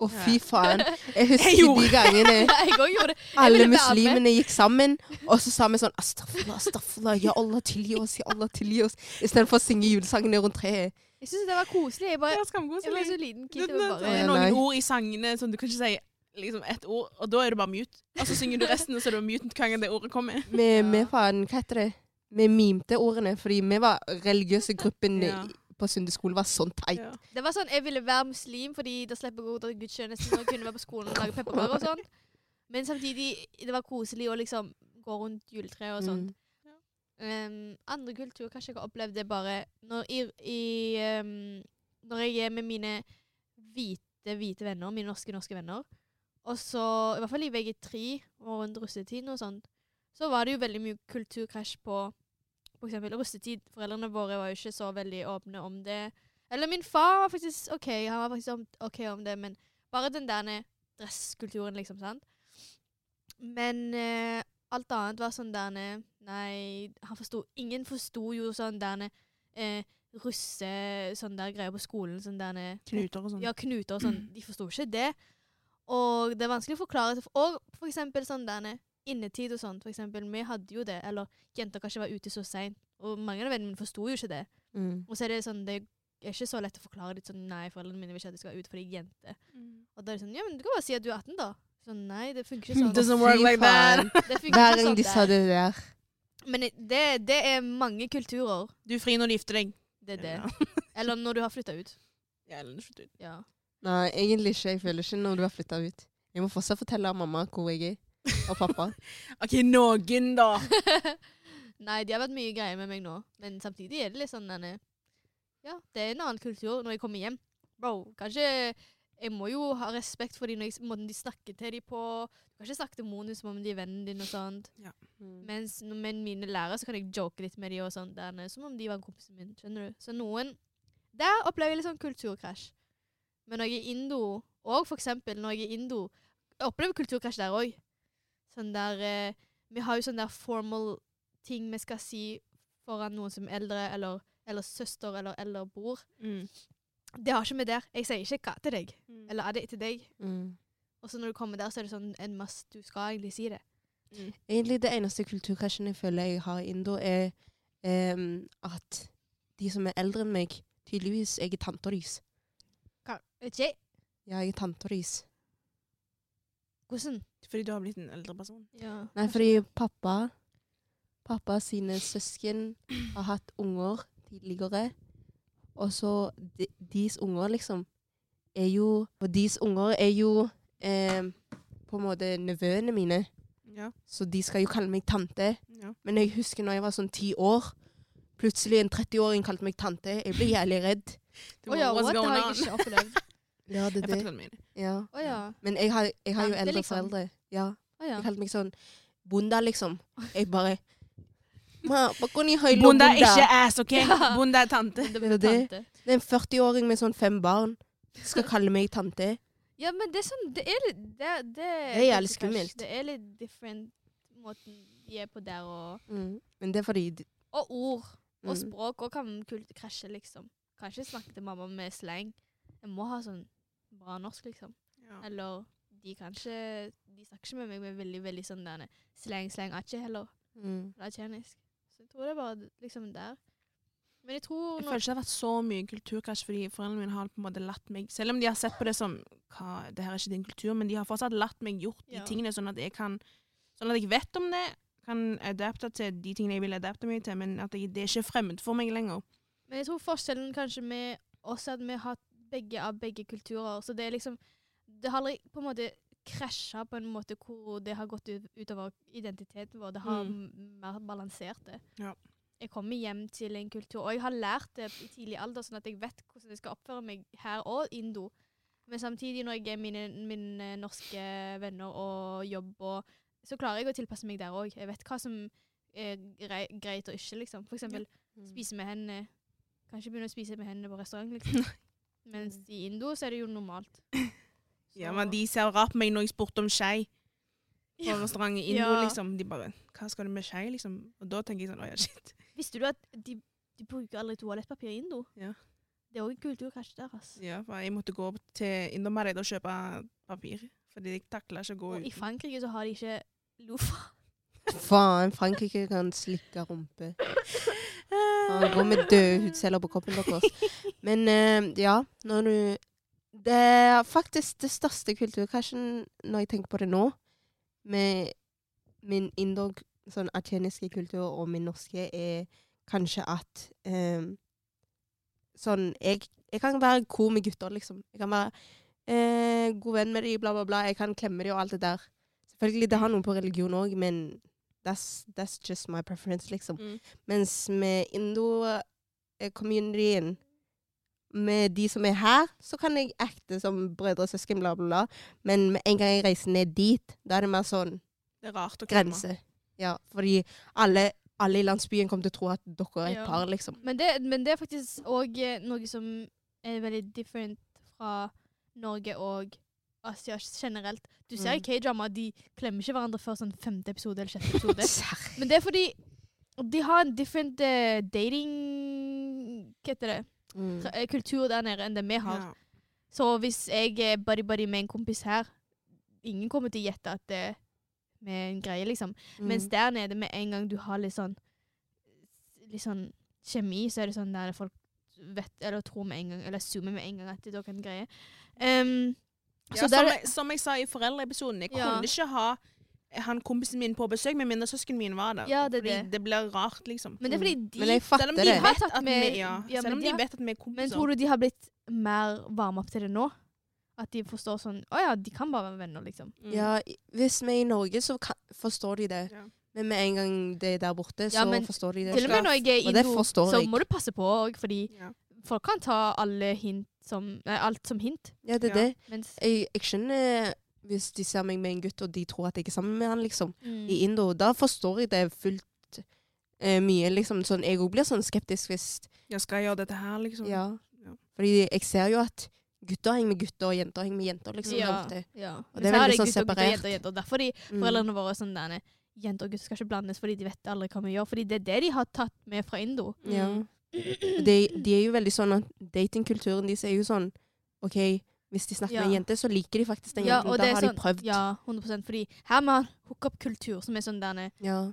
Speaker 2: Å, fy faen. Jeg
Speaker 3: Jeg
Speaker 2: husker
Speaker 3: gjorde-
Speaker 2: de gangene
Speaker 1: *laughs* jeg òg gjorde det. ville
Speaker 2: alle
Speaker 1: være
Speaker 2: muslimene gikk sammen, og så sa vi sånn Astrafla, astrafla, ja Allah tilgi oss, ja Allah tilgi oss, istedenfor å synge julesangene rundt treet.
Speaker 1: Jeg syns det var koselig. Jeg, bare,
Speaker 3: Ja, skamkoselig.
Speaker 1: jeg var så liten kid. Jeg
Speaker 3: Det
Speaker 1: var
Speaker 3: det
Speaker 1: bare
Speaker 3: er
Speaker 2: Ja, nei.
Speaker 3: noen ord i sangene som du kan ikke si liksom ett ord, og da er det bare mute. Og så synger du resten, og så er det mute hver gang det ordet kommer.
Speaker 2: Vi,
Speaker 1: Ja.
Speaker 2: vi faen, hva heter det? Vi mimte ordene, fordi vi var religiøse gruppen
Speaker 3: Ja.
Speaker 2: på søndagsskolen var sånn teit.
Speaker 3: Ja.
Speaker 1: Det var sånn, Jeg ville være muslim, fordi da slipper jeg å gå til gudstjeneste og kunne være på skolen og lage pepperkaker og sånn. Men samtidig, det var koselig å liksom gå rundt juletreet og sånn.
Speaker 2: Mm.
Speaker 1: Um, andre kultur kanskje jeg har opplevd det bare når, i, i, um, når jeg er med mine hvite, hvite venner, mine norske, norske venner, og så, i hvert fall i VG3 og rundt russetiden og sånt, så var det jo veldig mye kulturkrasj på for eksempel russetid. Foreldrene våre var jo ikke så veldig åpne om det. Eller min far var faktisk OK, han var faktisk om, ok om det, men bare den der dresskulturen, liksom, sant? Men eh, alt annet var sånn der nede Nei, han forsto Ingen forsto jo sånn der nede eh, russe sånn der greier på skolen. Sånn der nede
Speaker 3: Knuter og sånn.
Speaker 1: Ja, knuter og sånn. De forsto ikke det. Og det er vanskelig å forklare. til- Og for eksempel sånn der nede innetid og sånt. For eksempel, vi hadde jo det. Eller jenter kan ikke være ute så seint. Og mange av vennene mine forsto jo ikke det.
Speaker 2: Mm.
Speaker 1: Og så er det sånn Det er ikke så lett å forklare litt sånn Nei, foreldrene mine vil ikke at jeg skal ut fordi jeg er jente. Og da er det sånn Ja, men du kan bare si at du er 18, da. Sånn, nei, det funker
Speaker 2: *laughs*
Speaker 1: ikke sånn.
Speaker 3: Doesn't
Speaker 2: Å,
Speaker 3: work
Speaker 2: fy
Speaker 3: like
Speaker 1: *laughs*
Speaker 2: faen.
Speaker 1: Det funker
Speaker 2: Hver
Speaker 1: ikke
Speaker 2: gang
Speaker 1: sånn
Speaker 2: de sa
Speaker 1: der.
Speaker 2: det der.
Speaker 1: Men det, det er mange kulturer.
Speaker 3: Du er fri når du gifter deg.
Speaker 1: Det er det.
Speaker 3: Ja.
Speaker 1: *laughs* Eller når du har flytta ut.
Speaker 3: Ja, eller når du slutter ut.
Speaker 1: Ja.
Speaker 2: Nei, egentlig ikke. Jeg føler ikke når du har flytta ut. Jeg må fortsatt fortelle mamma hvor jeg er. Og pappa.
Speaker 1: *laughs*
Speaker 3: OK, noen, da.
Speaker 1: Nei, de har vært mye greier med meg nå. Men samtidig er det litt sånn denne Ja, det er en annen kultur når jeg kommer hjem. Bro, kanskje Jeg må jo ha respekt for de når jeg, måten de snakker til de på. Du kan ikke snakke til moren din som om de er vennen din og sånt.
Speaker 2: Mm.
Speaker 1: Mens når- med mine lærere så kan jeg joke litt med de og sånn, der, nede, som om de var kompisen min. skjønner du? Så noen Der opplever jeg litt sånn kulturkrasj. Men når jeg er i indo, og for eksempel når jeg er i indo, jeg opplever kulturkrasj der òg. Sånn der eh, Vi har jo sånn der formal ting vi skal si foran noen som er eldre, eller, eller søster, eller, eller bror. Det har ikke vi der. Jeg sier ikke 'hva' til deg, eller 'er det til deg'?
Speaker 2: Mm.
Speaker 1: Og så når du kommer der, så er det sånn en masse Du skal egentlig si det.
Speaker 2: Egentlig det eneste kulturkrasjen jeg føler jeg har i Indo, er em, at de som er eldre enn meg, tydeligvis jeg er tante deres.
Speaker 1: Hva? Ikke?
Speaker 2: Ja, jeg er tante deres.
Speaker 1: Hvordan?
Speaker 3: Fordi du har blitt en eldre person.
Speaker 1: Ja.
Speaker 2: Nei, fordi pappa Pappa sine søsken har hatt unger tidligere. Og så de, deres unger, liksom, er jo Og deres unger er jo em, på en måte nevøene mine.
Speaker 3: Ja.
Speaker 2: Så de skal jo kalle meg tante.
Speaker 3: ja.
Speaker 2: Men jeg husker når jeg var sånn ti år. Plutselig en 30-åring kalte meg tante. Jeg ble jævlig redd.
Speaker 1: Å ja,
Speaker 3: What's
Speaker 1: what? Det
Speaker 3: going
Speaker 1: har jeg
Speaker 3: on?
Speaker 1: ikke *laughs* opplevd.
Speaker 2: Ja, det er
Speaker 3: Jeg fatter
Speaker 2: det.
Speaker 3: hva du mener.
Speaker 2: Ja.
Speaker 1: Å ja.
Speaker 2: Men jeg har, jeg har jo
Speaker 1: Tante,
Speaker 2: eldre
Speaker 1: liksom.
Speaker 2: foreldre. Ja.
Speaker 1: Å ja.
Speaker 2: De kalte meg sånn bonda, liksom. Jeg bare Ma, bakoni høylo
Speaker 3: Bonde
Speaker 2: bonda.
Speaker 3: er ikke ass, OK?
Speaker 1: Ja.
Speaker 3: Bonde er tante.
Speaker 1: Det
Speaker 2: er
Speaker 1: blir
Speaker 2: det.
Speaker 1: tante.
Speaker 2: Det er en 40-åring med sånn fem barn. skal kalle meg tante.
Speaker 1: Ja, men det er sånn Det er litt Det, det,
Speaker 2: Det er jævlig
Speaker 1: litt fresh.
Speaker 2: skummelt.
Speaker 1: Det er litt different måten de er på der, og,
Speaker 2: Men det er fordi de-
Speaker 1: og ord og
Speaker 2: mm.
Speaker 1: språk og kan kult krasje, liksom. Kan ikke snakke til mamma med slang. Jeg må ha sånn bra norsk, liksom.
Speaker 3: Ja.
Speaker 1: Eller de kan ikke De snakker ikke med meg med veldig, veldig sånn der slang, slang, atje heller.
Speaker 2: mm.
Speaker 1: Det er tjenisk. Så jeg tror det var liksom der. Men jeg tror nok
Speaker 3: Jeg føler ikke det har vært så mye kulturkrasj, fordi foreldrene mine har på en måte latt meg Selv om de har sett på det som hva, det her er ikke din kultur, men de har fortsatt latt meg gjort de
Speaker 1: Ja.
Speaker 3: tingene, sånn at jeg kan Sånn at jeg vet om det, kan adapte til de tingene jeg vil adapte meg til, men at jeg, det er ikke fremmed for meg lenger.
Speaker 1: Men jeg tror forskjellen kanskje med oss er at vi har hatt begge av begge kulturer. Så det er liksom Det har aldri på en måte krasja på en måte hvor det har gått ut, utover identiteten vår. Det har
Speaker 3: Mm.
Speaker 1: m- mer balansert det.
Speaker 3: Ja.
Speaker 1: Jeg kommer hjem til en kultur, og jeg har lært det i tidlig alder, sånn at jeg vet hvordan jeg skal oppføre meg her og indo. Men samtidig, når jeg er mine, mine norske venner og jobb og så klarer jeg å tilpasse meg der òg. Jeg vet hva som er grei, greit og ikke, liksom. For eksempel spise med hendene. Kanskje begynne å spise med hendene på restaurant,
Speaker 3: *laughs*
Speaker 1: liksom. *laughs* Mens i Indo så er det jo normalt.
Speaker 3: Ja,
Speaker 1: Så-
Speaker 3: men Sånn de ser rart på meg når jeg spurte om skei på
Speaker 1: Ja.
Speaker 3: restauranten Indo,
Speaker 1: Ja.
Speaker 3: liksom. De bare 'Hva skal du med skei?' liksom. Og da tenker jeg sånn 'Å ja, shit'.
Speaker 1: Visste du at de, de bruker aldri toalettpapir i Indo?
Speaker 3: Ja.
Speaker 1: Det er òg en kulturkrasj der, ass.
Speaker 3: Ja, for jeg måtte gå til Indomaret og kjøpe papir, fordi jeg takla ikke å gå
Speaker 1: Og i
Speaker 3: uten.
Speaker 1: Frankrike så har de ikke lofa.
Speaker 2: Faen, Frankrike kan slikke rumpe. Han går med døde hudceller på kroppen deres. Men eh, ja, når du Det er faktisk det største kulturkrasjen, når jeg tenker på det nå, med min indog, sånn atjeniske kultur og min norske, er kanskje at eh, Sånn jeg, jeg kan være god med gutter, liksom. Jeg kan være eh, god venn med dem, bla, bla, bla. Jeg kan klemme dem og alt det der. Selvfølgelig, det har noe på religion òg, men that's, that's just my preference, liksom.
Speaker 3: Mm.
Speaker 2: Mens med indo-communityen, med de som er her, så kan jeg acte som brødre og søsken, bla, bla, bla. Men med en gang jeg reiser ned dit, da er det mer sånn
Speaker 3: Det er rart å klemme.
Speaker 2: grense. Ja, fordi alle, alle i landsbyen kommer til å tro at dere er et
Speaker 1: Ja.
Speaker 2: par, liksom.
Speaker 1: *laughs* Men det, men det er faktisk òg noe som er veldig different fra Norge og Asia generelt. Du ser i
Speaker 2: Mm.
Speaker 1: K-drama de klemmer ikke hverandre før sånn femte episode eller sjette
Speaker 3: *laughs*
Speaker 1: episode.
Speaker 2: Serr.
Speaker 1: Men det er fordi de har en different eh, dating Hva heter det?
Speaker 2: Mm.
Speaker 1: Tra- eh, Kultur der nede enn det vi har.
Speaker 3: Ja.
Speaker 1: Så hvis jeg er buddy-buddy med en kompis her, ingen kommer til å gjette at det er en greie, liksom. Mens
Speaker 2: Mm.
Speaker 1: der nede, med en gang du har litt sånn Litt sånn kjemi, så er det sånn der folk vet, eller tror med en gang, eller zoomer med en gang at det dere er en greie. Ehm,
Speaker 3: Ja,
Speaker 1: så der,
Speaker 3: som, jeg, som jeg sa i foreldreepisoden, jeg
Speaker 1: Ja.
Speaker 3: kunne ikke ha eh, han kompisen min på besøk med mindre søskenen min var der.
Speaker 1: Ja, det er
Speaker 3: fordi
Speaker 1: det.
Speaker 3: det blir rart, liksom.
Speaker 1: men det er fordi de
Speaker 2: Mm. Men jeg
Speaker 3: Selv
Speaker 2: fatter
Speaker 3: om de,
Speaker 2: det.
Speaker 1: har
Speaker 3: vet
Speaker 1: tatt
Speaker 3: at vi,
Speaker 1: med-
Speaker 3: ja,
Speaker 1: ja,
Speaker 3: selv
Speaker 1: men
Speaker 3: om
Speaker 1: de
Speaker 3: de
Speaker 1: har-
Speaker 3: vet at vi er kompiser.
Speaker 1: Men tror du de har blitt mer varme opp til det nå? At de forstår sånn Å ja, de kan bare være venner, liksom.
Speaker 3: Mm.
Speaker 2: Ja, i- hvis vi er i Norge, så kan, forstår de det.
Speaker 3: Ja.
Speaker 2: Men med en gang det er der borte, så
Speaker 1: men
Speaker 2: forstår de det.
Speaker 1: Til og med når jeg er i
Speaker 2: Og det
Speaker 1: Indo,
Speaker 2: forstår
Speaker 1: så
Speaker 2: jeg.
Speaker 1: må du passe på òg, fordi
Speaker 3: Ja.
Speaker 1: folk kan ta alle hint som, nei, alt som hint.
Speaker 2: Ja, det er
Speaker 3: Ja.
Speaker 2: det.
Speaker 1: Mens
Speaker 2: Jeg, jeg skjønner hvis de ser meg med en gutt, og de tror at jeg er sammen med han, liksom. I
Speaker 1: mm,
Speaker 2: Indo, da forstår jeg det fullt eh, mye, liksom. Sånn, jeg òg blir sånn skeptisk hvis
Speaker 3: Ja, skal jeg gjøre dette her,
Speaker 1: Mm.
Speaker 3: liksom?
Speaker 2: Ja.
Speaker 3: Ja.
Speaker 2: Fordi jeg ser jo at gutter henger med gutter, og jenter henger med jenter, liksom.
Speaker 1: ja,
Speaker 2: der borte.
Speaker 1: ja.
Speaker 2: Og det
Speaker 1: Men
Speaker 2: er
Speaker 1: så
Speaker 2: veldig
Speaker 1: gutter,
Speaker 2: sånn
Speaker 1: gutter,
Speaker 2: separert.
Speaker 1: Jenter, jenter. Derfor de
Speaker 2: Mm.
Speaker 1: foreldrene våre er sånn der nei, Jenter og gutter skal ikke blandes, fordi de vet aldri hva vi gjør. Fordi det er det de har tatt med fra Indo.
Speaker 2: Ja. Og De, de er jo veldig sånn at datingkulturen deres er jo sånn OK, hvis de snakker med en
Speaker 1: Ja.
Speaker 2: jente, så liker de faktisk den
Speaker 1: Ja,
Speaker 2: jenten.
Speaker 1: og
Speaker 2: Da
Speaker 1: det er
Speaker 2: har
Speaker 1: sånn,
Speaker 2: de prøvd.
Speaker 1: Ja, 100 Fordi her må man hookup-kultur, som er sånn der nei,
Speaker 2: Ja.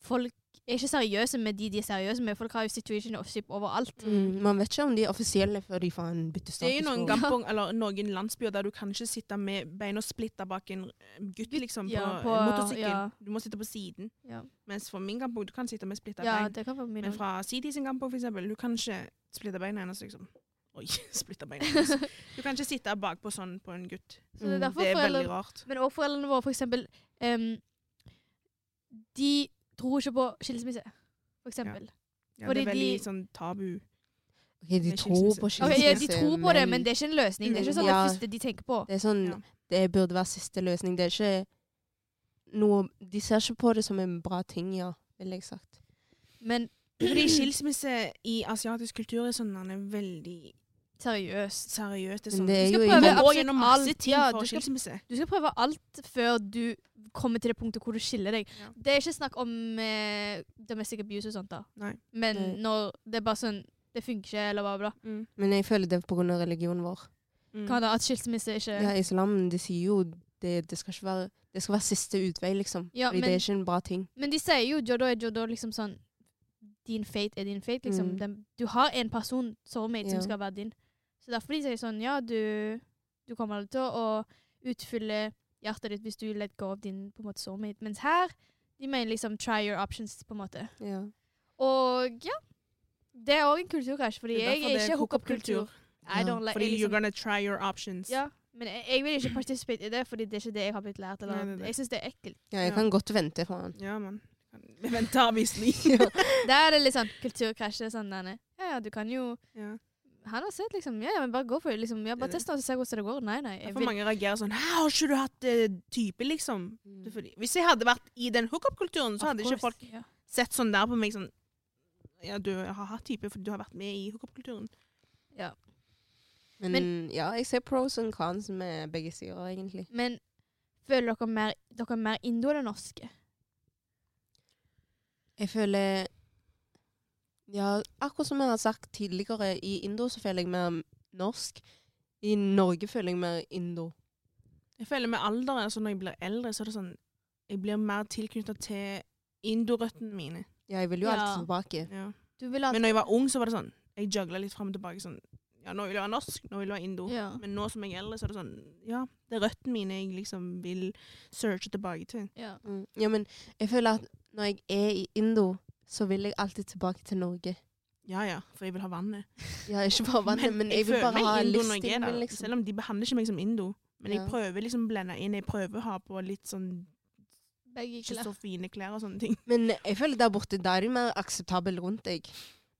Speaker 1: folk er ikke seriøse med de de er seriøse med. Folk har jo situation of ship overalt.
Speaker 2: Mm, man vet ikke om de er offisielle før de får en
Speaker 3: Det
Speaker 2: byttestatus.
Speaker 3: er jo
Speaker 2: på-
Speaker 3: noen gampong, eller noen landsbyer der du kan ikke sitte med beina splitta bak en eh, gutt liksom, på,
Speaker 1: ja, på-
Speaker 3: en motorsykkel.
Speaker 1: ja.
Speaker 3: Du må sitte på siden.
Speaker 1: Ja.
Speaker 3: Mens for min kampong, du kan sitte med splitta
Speaker 1: Ja,
Speaker 3: bein.
Speaker 1: det kan være mye.
Speaker 3: Men
Speaker 1: nå.
Speaker 3: fra Sidi sin kamp, for eksempel, du kan ikke splitte beina hennes, liksom. Oi, *laughs* splitte beina hennes. Du kan ikke sitte bakpå sånn på en gutt.
Speaker 1: Så det er
Speaker 2: Mm,
Speaker 1: derfor
Speaker 3: Det er
Speaker 1: foreldre,
Speaker 3: veldig rart.
Speaker 1: Men også foreldrene våre, for eksempel em, De tror ikke på skilsmisse, for eksempel.
Speaker 3: Ja, det
Speaker 1: fordi
Speaker 3: er veldig
Speaker 1: de-
Speaker 3: sånn tabu.
Speaker 2: Ok, de
Speaker 3: Med
Speaker 2: tror på
Speaker 1: Ok,
Speaker 2: skilsmisse.
Speaker 1: ja, de tror på det, men det er ikke en løsning. Det er ikke sånn det
Speaker 2: Ja.
Speaker 1: første de tenker på.
Speaker 2: Det er sånn
Speaker 3: Ja.
Speaker 2: Det burde være siste løsning. Det er ikke noe De ser ikke på det som en bra ting, ja, ville jeg sagt.
Speaker 1: Men
Speaker 3: Fordi skilsmisse i asiatisk kultur er sånn den er veldig
Speaker 1: Seriøst.
Speaker 3: Seriøst, det er
Speaker 2: Men
Speaker 3: sånn.
Speaker 2: det er
Speaker 3: du
Speaker 2: jo
Speaker 3: skal
Speaker 2: ingen-
Speaker 3: prøve
Speaker 2: Du
Speaker 1: må
Speaker 3: absolutt gjennom masse
Speaker 1: alt.
Speaker 3: ting
Speaker 1: Ja,
Speaker 3: for
Speaker 1: du skal-
Speaker 3: skilsmisse.
Speaker 1: Du skal prøve alt før du kommer til det punktet hvor du skiller deg.
Speaker 3: Ja.
Speaker 1: Det er ikke snakk om eh, domestic abuse og sånt, da.
Speaker 3: Nei.
Speaker 1: Men
Speaker 2: Nei.
Speaker 1: når det er bare sånn Det funker ikke, eller bla, bla. bla.
Speaker 3: Mm.
Speaker 2: Men jeg føler det er på grunn av religionen vår.
Speaker 3: Mm.
Speaker 1: Hva da? At skilsmisse er ikke
Speaker 2: Ja, islam, de sier jo det, det skal ikke være det skal være siste utvei, liksom.
Speaker 1: Ja,
Speaker 2: Fordi
Speaker 1: men-
Speaker 2: det er ikke en bra ting.
Speaker 1: Men de sier jo jodo er jodo, liksom sånn Din fate er din fate, liksom.
Speaker 2: Mm.
Speaker 1: Den, du har en person, soulmate,
Speaker 2: Ja.
Speaker 1: som skal være din. Så derfor de sier sånn Ja, du, du kommer aldri til å utfylle hjertet ditt hvis du let go av din på en måte soulmate. Mens her, de mener liksom try your options, på en måte.
Speaker 2: Ja.
Speaker 1: Og ja. Det er òg en kulturkrasj, fordi
Speaker 3: Det er
Speaker 1: jeg
Speaker 3: derfor
Speaker 1: er
Speaker 3: det er
Speaker 1: ikke hookup-kultur. I
Speaker 2: Ja,
Speaker 1: don't like
Speaker 3: Fordi
Speaker 1: jeg
Speaker 3: you're
Speaker 1: liksom,
Speaker 3: gonna try your options.
Speaker 1: ja, Men jeg, jeg vil ikke participate i det, fordi det er ikke det jeg har blitt lært. Eller,
Speaker 3: Nei, det er det.
Speaker 1: Jeg syns det er ekkelt.
Speaker 2: ja, jeg
Speaker 3: Ja.
Speaker 2: kan godt vente fra han.
Speaker 3: Ja, mann. *laughs* Vi venter avvisning.
Speaker 2: *laughs*
Speaker 1: Der er det litt sånn kulturkrasj. det er Sånn, denne. ja, ja, du kan jo
Speaker 3: ja.
Speaker 1: Han har sett, liksom. Ja, ja, men bare gå for det. liksom. Ja, Bare
Speaker 3: Det er det.
Speaker 1: test det og se hvordan det går. Nei, nei. Jeg
Speaker 3: Derfor
Speaker 1: vil.
Speaker 3: mange reagerer sånn Hæ, har ikke du hatt eh, type, liksom?
Speaker 2: Mm.
Speaker 3: Det er fordi, hvis jeg hadde vært i den hookup-kulturen, så hadde
Speaker 1: Of
Speaker 3: ikke folk
Speaker 1: course, ja.
Speaker 3: sett sånn der på meg sånn Ja, du har hatt type fordi du har vært med i hookup-kulturen.
Speaker 2: Men, ja, jeg ser pros og cons med begge sider, egentlig.
Speaker 1: Men føler dere mer, dere er mer indo eller norske?
Speaker 2: Jeg føler Ja, akkurat som jeg har sagt tidligere, i Indo så føler jeg mer norsk. I Norge føler jeg mer indo.
Speaker 3: Jeg føler med alderen, altså når jeg blir eldre, så er det sånn Jeg blir mer tilknytta til indorøttene mine.
Speaker 2: Ja, jeg vil jo
Speaker 1: Ja.
Speaker 2: alltid tilbake.
Speaker 3: Ja.
Speaker 1: Du vil alltid
Speaker 3: Men når jeg var ung, så var det sånn Jeg juggla litt fram og tilbake sånn Ja, nå vil jeg være norsk, nå vil jeg være indo.
Speaker 1: ja.
Speaker 3: Men nå som jeg er eldre, så er det sånn Ja, det er røttene mine jeg liksom vil searche tilbake til.
Speaker 1: ja.
Speaker 2: Mm. Ja, men jeg føler at når jeg er i Indo, så vil jeg alltid tilbake til Norge.
Speaker 3: Ja ja, for jeg vil ha vannet.
Speaker 2: Ja, ikke bare vannet, men, jeg vil
Speaker 3: føler
Speaker 2: bare
Speaker 3: meg
Speaker 2: ha
Speaker 3: indo når jeg er
Speaker 2: livsstilen min,
Speaker 3: der,
Speaker 2: liksom.
Speaker 3: Selv om de behandler ikke meg som indo. Men jeg
Speaker 2: Ja.
Speaker 3: prøver liksom å blende inn. Jeg prøver å ha på litt sånn
Speaker 1: Begge
Speaker 3: ikke
Speaker 1: klær.
Speaker 3: så fine klær og sånne ting.
Speaker 2: Men jeg føler der borte, da er de mer akseptable rundt deg.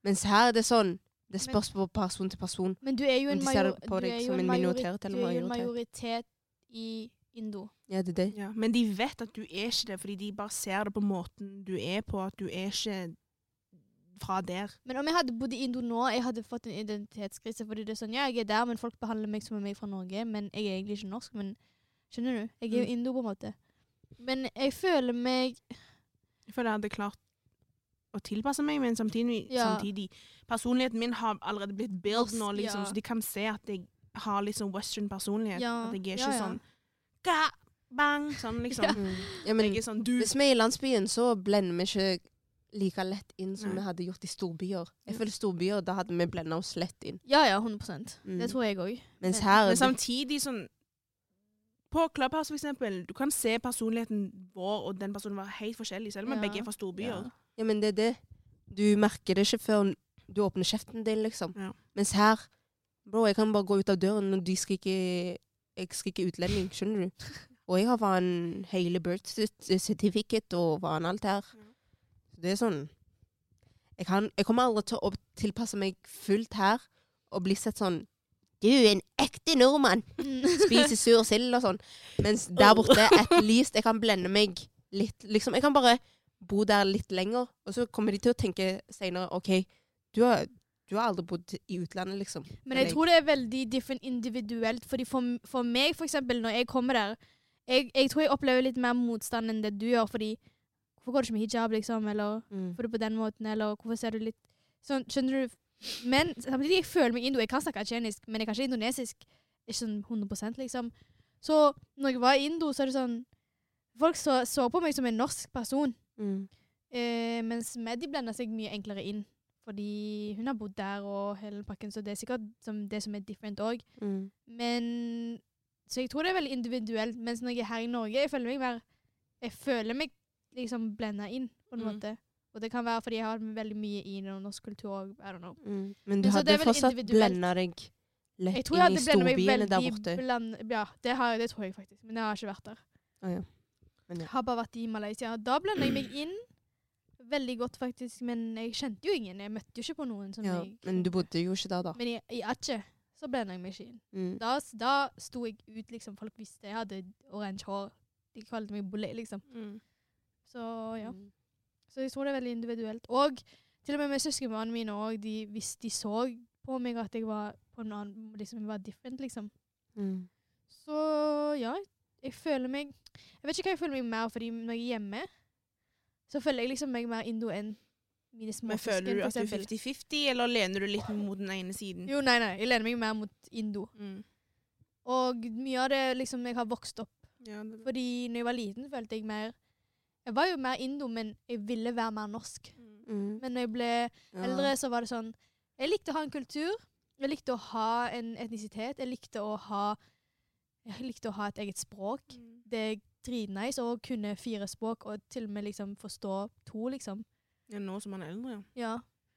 Speaker 2: Mens her er det sånn, det spørs på person til person.
Speaker 1: Men du er jo
Speaker 2: Om
Speaker 1: en,
Speaker 2: de ser
Speaker 1: major,
Speaker 2: på
Speaker 1: du
Speaker 2: deg
Speaker 1: er jo
Speaker 2: som
Speaker 1: en
Speaker 2: en
Speaker 1: majoritet,
Speaker 2: minoritet eller
Speaker 1: du er jo en
Speaker 2: majoritet.
Speaker 1: majoritet i indo.
Speaker 2: Ja, det er det.
Speaker 3: Ja, men de vet at du er ikke det, fordi de bare ser det på måten du er på, at du er ikke fra der.
Speaker 1: Men om jeg hadde bodd i Indo nå, jeg hadde fått en identitetskrise. Fordi det er sånn, ja, jeg er der, men folk behandler meg som om jeg er fra Norge. Men jeg er egentlig ikke norsk. Men skjønner du? Jeg er
Speaker 3: Mm.
Speaker 1: jo indo, på en måte. Men jeg føler meg
Speaker 3: Jeg føler jeg hadde klart å tilpasse meg, men samtidig,
Speaker 1: Ja.
Speaker 3: samtidig Personligheten min har allerede blitt built nå,
Speaker 1: Ops,
Speaker 3: liksom,
Speaker 1: ja.
Speaker 3: så de kan se at jeg har litt sånn western personlighet.
Speaker 1: Ja,
Speaker 3: At jeg er
Speaker 1: ja,
Speaker 3: ikke
Speaker 1: ja.
Speaker 3: sånn ga, bang, sånn liksom.
Speaker 2: Mm. Ja, men
Speaker 3: *laughs* Jeg er sånn du
Speaker 2: hvis vi er i landsbyen, så blender vi ikke like lett inn som
Speaker 3: Nei.
Speaker 2: vi hadde gjort i storbyer. Jeg
Speaker 3: Ja.
Speaker 2: føler storbyer, da hadde vi blendet oss lett inn.
Speaker 1: Ja ja, 100 Det
Speaker 2: Mm.
Speaker 1: tror jeg òg.
Speaker 2: Mens her,
Speaker 3: Men
Speaker 2: er det-
Speaker 3: samtidig sånn På Clubhouse, for eksempel, du kan se personligheten vår og den personen være helt forskjellig, selv om
Speaker 1: Ja.
Speaker 3: begge er fra storbyer.
Speaker 2: ja, men det er det. Du merker det ikke før du åpner kjeften din, liksom.
Speaker 3: Ja.
Speaker 2: Mens her, bro, jeg kan bare gå ut av døren når de skriker, jeg skriker utlending, skjønner du? Og jeg har van hele birth cert- certificate og van alt her. Det er sånn jeg, kan, jeg kommer aldri til å tilpasse meg fullt her og bli sett sånn Du er en ekte nordmann! *laughs* Spiser sur sild og sånn. Mens der borte, at least, jeg kan blende meg litt. Liksom, jeg kan bare bo der litt lenger, og så kommer de til å tenke seinere OK, du har, du har aldri bodd i utlandet, liksom.
Speaker 1: *laughs* Men jeg
Speaker 2: Eller-
Speaker 1: tror det er veldig different individuelt. Fordi for, for meg, for eksempel, når jeg kommer der jeg, jeg tror jeg opplever litt mer motstand enn det du gjør, fordi Hvorfor går du ikke med hijab, liksom? Eller
Speaker 2: Mm.
Speaker 1: hvorfor er du på den måten? Eller hvorfor ser du litt sånn, Skjønner du? Men samtidig, jeg føler meg indo. Jeg kan snakke tsjenisk, men jeg kan ikke indonesisk. Ikke sånn 100 liksom. Så når jeg var i Indo, så er det sånn Folk så, så på meg som en norsk person.
Speaker 2: Mm.
Speaker 1: Eh, mens Maddy blander seg mye enklere inn. Fordi hun har bodd der og hele pakken, så det er sikkert som det som er different òg.
Speaker 2: Mm.
Speaker 1: Men Så jeg tror det er veldig individuelt. Mens når jeg er her i Norge, jeg føler meg mer Jeg føler meg liksom blenda inn, på en
Speaker 3: Mm.
Speaker 1: måte. Og det kan være fordi jeg har veldig mye i no- norsk kultur òg. I don't know.
Speaker 2: Mm. Men du
Speaker 1: Men så det
Speaker 2: hadde
Speaker 1: er vel
Speaker 2: fortsatt
Speaker 1: individuelt.
Speaker 2: blenda deg lett
Speaker 1: Jeg tror jeg
Speaker 2: inn i
Speaker 1: hadde blenda meg
Speaker 2: storbyene der
Speaker 1: veldig
Speaker 2: borte.
Speaker 1: bland... Ja, det, har jeg, det tror jeg faktisk. Men jeg har ikke vært der.
Speaker 2: Å ja. Men ja.
Speaker 1: Har bare vært i Malaysia. Da blenda jeg meg inn veldig godt, faktisk. Men jeg kjente jo ingen. Jeg møtte jo ikke på noen som
Speaker 2: Ja,
Speaker 1: jeg
Speaker 2: men du bodde jo ikke der, da.
Speaker 1: Men i, i Atje så blenda jeg meg ikke inn.
Speaker 2: Mm.
Speaker 1: Da, da sto jeg ut, liksom. Folk visste jeg hadde oransje hår. De kalte meg bolle, liksom.
Speaker 3: Mm.
Speaker 1: Så ja. Så jeg tror det er veldig individuelt. Og til og med med søskenbarna mine òg, hvis de så på meg at jeg var på en annen De som var different, liksom.
Speaker 2: Mm.
Speaker 1: Så ja, jeg føler meg Jeg vet ikke hva jeg føler meg mer, fordi når jeg er hjemme, så føler jeg liksom meg mer indo enn mine
Speaker 3: Men
Speaker 1: småsøsken,
Speaker 3: føler du
Speaker 1: for
Speaker 3: at du er
Speaker 1: eksempel.
Speaker 3: 50-50, eller lener du litt mot den ene siden?
Speaker 1: Jo, nei, nei. Jeg lener meg mer mot indo.
Speaker 3: Mm.
Speaker 1: Og mye av det liksom jeg har vokst opp
Speaker 3: Ja, det er bra.
Speaker 1: Fordi når jeg var liten, følte jeg mer Jeg var jo mer indo, men jeg ville være mer norsk.
Speaker 3: Mm.
Speaker 2: Mm.
Speaker 1: Men når jeg ble eldre, så var det sånn Jeg likte å ha en kultur. Jeg likte å ha en etnisitet. Jeg likte å ha Jeg likte å ha et eget språk.
Speaker 3: Mm.
Speaker 1: Det er dritnice å kunne fire språk og til og med liksom forstå to, liksom.
Speaker 3: Ja, nå som man er eldre, ja.
Speaker 1: Ja,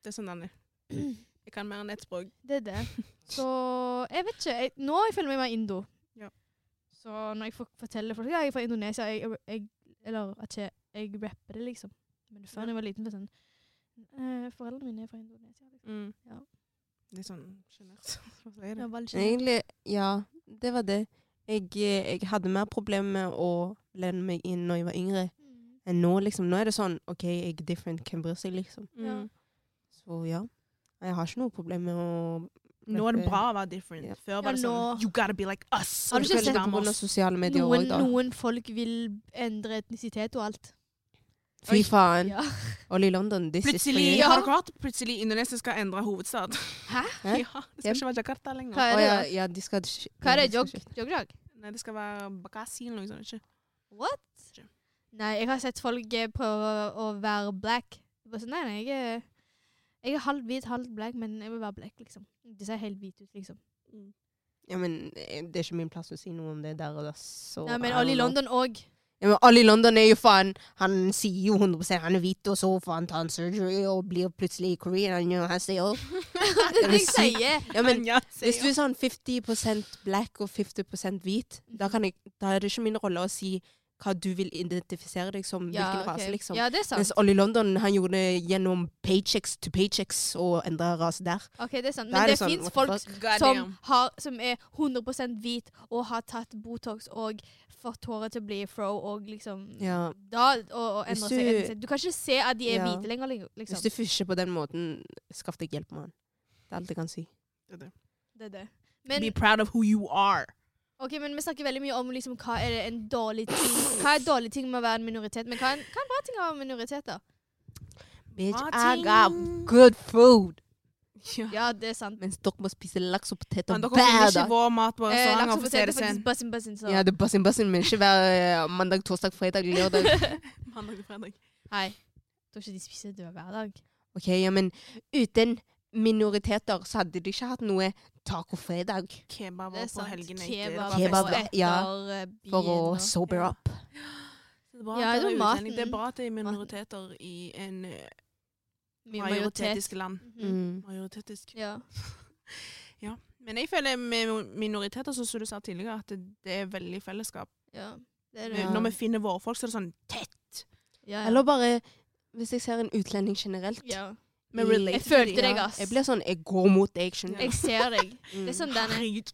Speaker 3: Det er sånn *clears throat* den er. Jeg kan mer enn ett språk.
Speaker 1: det er det. Så jeg vet ikke. Jeg, nå føler jeg meg mer indo.
Speaker 3: Ja.
Speaker 1: Så når jeg får forteller folk ja, jeg er fra Indonesia jeg, jeg, Eller at jeg, jeg rapper det, liksom. Men før da jeg var liten, var det sånn eh, Foreldrene mine er fra Indonesia. Liksom.
Speaker 3: Mm.
Speaker 1: Ja.
Speaker 3: Litt sånn sjenert. *laughs* Hva sier du?
Speaker 1: Jeg var litt sånn,
Speaker 2: Egentlig, ja. Det var det. Jeg, eh, jeg hadde mer problemer med å blende meg inn når jeg var yngre,
Speaker 1: mm,
Speaker 2: enn nå, liksom. Nå er det sånn OK, jeg er different, hvem bryr seg, liksom?
Speaker 1: ja.
Speaker 3: Mm.
Speaker 2: Så ja. Jeg har ikke noe problem med å
Speaker 3: Nå er det bra å være different.
Speaker 2: Ja.
Speaker 3: Før var det sånn
Speaker 1: Ja, nå-
Speaker 3: You gotta be like us!
Speaker 1: Har du
Speaker 2: Jeg
Speaker 1: ikke
Speaker 2: føler
Speaker 1: sett
Speaker 2: det på grunn av sosiale medier
Speaker 1: Noen,
Speaker 2: òg, da.
Speaker 1: noen folk vil endre etnisitet og alt.
Speaker 2: Fy faen.
Speaker 1: Ja.
Speaker 2: Ollie London, this is for
Speaker 3: Plutselig
Speaker 2: you.
Speaker 1: Ja.
Speaker 3: har dere hørt? Plutselig Indonesia skal endre hovedstad. *laughs*
Speaker 1: Hæ?
Speaker 2: Hæ?
Speaker 3: Ja, det
Speaker 2: Yep.
Speaker 3: skal ikke være Jakarta lenger.
Speaker 1: Hva
Speaker 2: Å
Speaker 1: er det?
Speaker 2: ja,
Speaker 1: da?
Speaker 2: ja, de skal sk-
Speaker 1: Hva er det?
Speaker 2: ja, de
Speaker 1: Jog?
Speaker 2: skal skifte.
Speaker 1: Jog-jog?
Speaker 3: Nei, det skal være Bakasi eller noe sånt. ikke?
Speaker 1: What?
Speaker 3: Ikke.
Speaker 1: Nei, jeg har sett folk eh, prøve å være black. Jeg Bare sånn, nei, nei, jeg er, jeg er halv hvit, halv black, men jeg vil være black, liksom. De ser helt hvite ut, liksom.
Speaker 2: Ja, men eh, det er ikke min plass å si noe om det der og da, så
Speaker 1: Nei, men
Speaker 2: I don't
Speaker 1: alle i
Speaker 2: know.
Speaker 1: London
Speaker 2: *laughs*
Speaker 1: òg.
Speaker 2: Ja, men Ollie London er jo faen Han sier jo 100 han er hvit, og så får han ta en surgery og blir plutselig korean. You know, han sier jo-
Speaker 1: *laughs* Det er det jeg
Speaker 2: sykt?
Speaker 1: sier.
Speaker 2: ja, men
Speaker 3: *laughs* Ja, sier
Speaker 2: Hvis du er sånn 50 black og 50 hvit,
Speaker 1: Mhm.
Speaker 2: da, kan jeg, da er det ikke min rolle å si hva du vil identifisere deg som,
Speaker 1: Ja,
Speaker 2: hvilken
Speaker 1: ok.
Speaker 2: rase, liksom.
Speaker 1: ja, det er sant.
Speaker 2: Mens Ollie London han gjorde det gjennom paychecks to paychecks og endra rase der.
Speaker 1: Ok, det er sant.
Speaker 2: Da
Speaker 1: Men
Speaker 2: er
Speaker 1: det,
Speaker 2: sånn,
Speaker 1: fins
Speaker 2: what the
Speaker 1: folk
Speaker 2: fuck?
Speaker 3: God
Speaker 1: som,
Speaker 3: damn.
Speaker 1: har, som er 100 hvit og har tatt Botox og fått håret til å bli fro og liksom
Speaker 2: Ja.
Speaker 1: da, og, og
Speaker 2: Hvis
Speaker 1: endre
Speaker 2: du-
Speaker 1: seg. etnisitet. Du kan ikke se at de er
Speaker 2: Ja.
Speaker 1: hvite lenger, li-
Speaker 2: Hvis
Speaker 1: liksom.
Speaker 2: du fusjer på den måten, skaff deg hjelp, mann. Det er alt jeg kan si.
Speaker 1: Det er det. Men
Speaker 3: Be proud of who you are.
Speaker 1: Ok, men Vi snakker veldig mye om liksom, hva er det en dårlig ting Hva er dårlig ting med å være en minoritet, men hva er, en- hva er en bra ting å være en minoritet? da?
Speaker 2: Bitch,
Speaker 3: Bra
Speaker 2: I got
Speaker 3: ting.
Speaker 2: good food!
Speaker 3: *laughs* Ja.
Speaker 1: Ja, det er sant.
Speaker 2: Mens dere må spise laks og poteter
Speaker 3: Men dere finner
Speaker 2: hver
Speaker 3: ikke
Speaker 2: dag.
Speaker 3: vår mat på
Speaker 1: Eh,
Speaker 3: restauranter, for å si
Speaker 1: Laksepotet er
Speaker 3: det sånn.
Speaker 1: faktisk bassin, bassin, så
Speaker 2: Ja, det er bassin, bassin, men ikke hver eh, mandag, torsdag, fredag, lørdag.
Speaker 3: Mandag til fredag.
Speaker 1: Hei. Jeg tror ikke de spiser det hver dag.
Speaker 2: Ok, ja, men uten minoriteter så hadde de ikke hatt noe tacofredag
Speaker 3: Kebab
Speaker 1: Det er
Speaker 3: på
Speaker 1: sant.
Speaker 3: helgene.
Speaker 1: Kebab,
Speaker 2: det var
Speaker 1: og
Speaker 2: fest.
Speaker 1: etter
Speaker 2: ja,
Speaker 1: eh,
Speaker 2: for å
Speaker 1: byen og-
Speaker 2: sober
Speaker 3: Ja.
Speaker 2: up.
Speaker 3: Det er bra
Speaker 1: Ja,
Speaker 3: at
Speaker 1: det
Speaker 3: det
Speaker 1: er
Speaker 3: er
Speaker 1: maten.
Speaker 3: utlending. Det er bra at det er minoriteter i en eh,
Speaker 1: Mye
Speaker 3: majoritetisk land.
Speaker 1: Mhm.
Speaker 2: Mm.
Speaker 3: Majoritetisk.
Speaker 1: Ja.
Speaker 3: Men jeg føler med minoriteter, så som du sa tidligere, at det- det er veldig fellesskap.
Speaker 1: ja. Det er det.
Speaker 2: Ja.
Speaker 3: Når vi finner våre folk, så er det sånn tett.
Speaker 1: Ja, ja.
Speaker 2: Eller bare hvis jeg ser en utlending generelt.
Speaker 1: ja.
Speaker 3: Vi
Speaker 2: Mm.
Speaker 3: relater
Speaker 1: Jeg
Speaker 3: til
Speaker 1: følte
Speaker 3: de.
Speaker 1: deg, ass.
Speaker 2: Jeg blir Mm. sånn Jeg går mot deg, skjønner du.
Speaker 1: Jeg ser deg. Det er sånn den Ah. er.
Speaker 3: Herregud.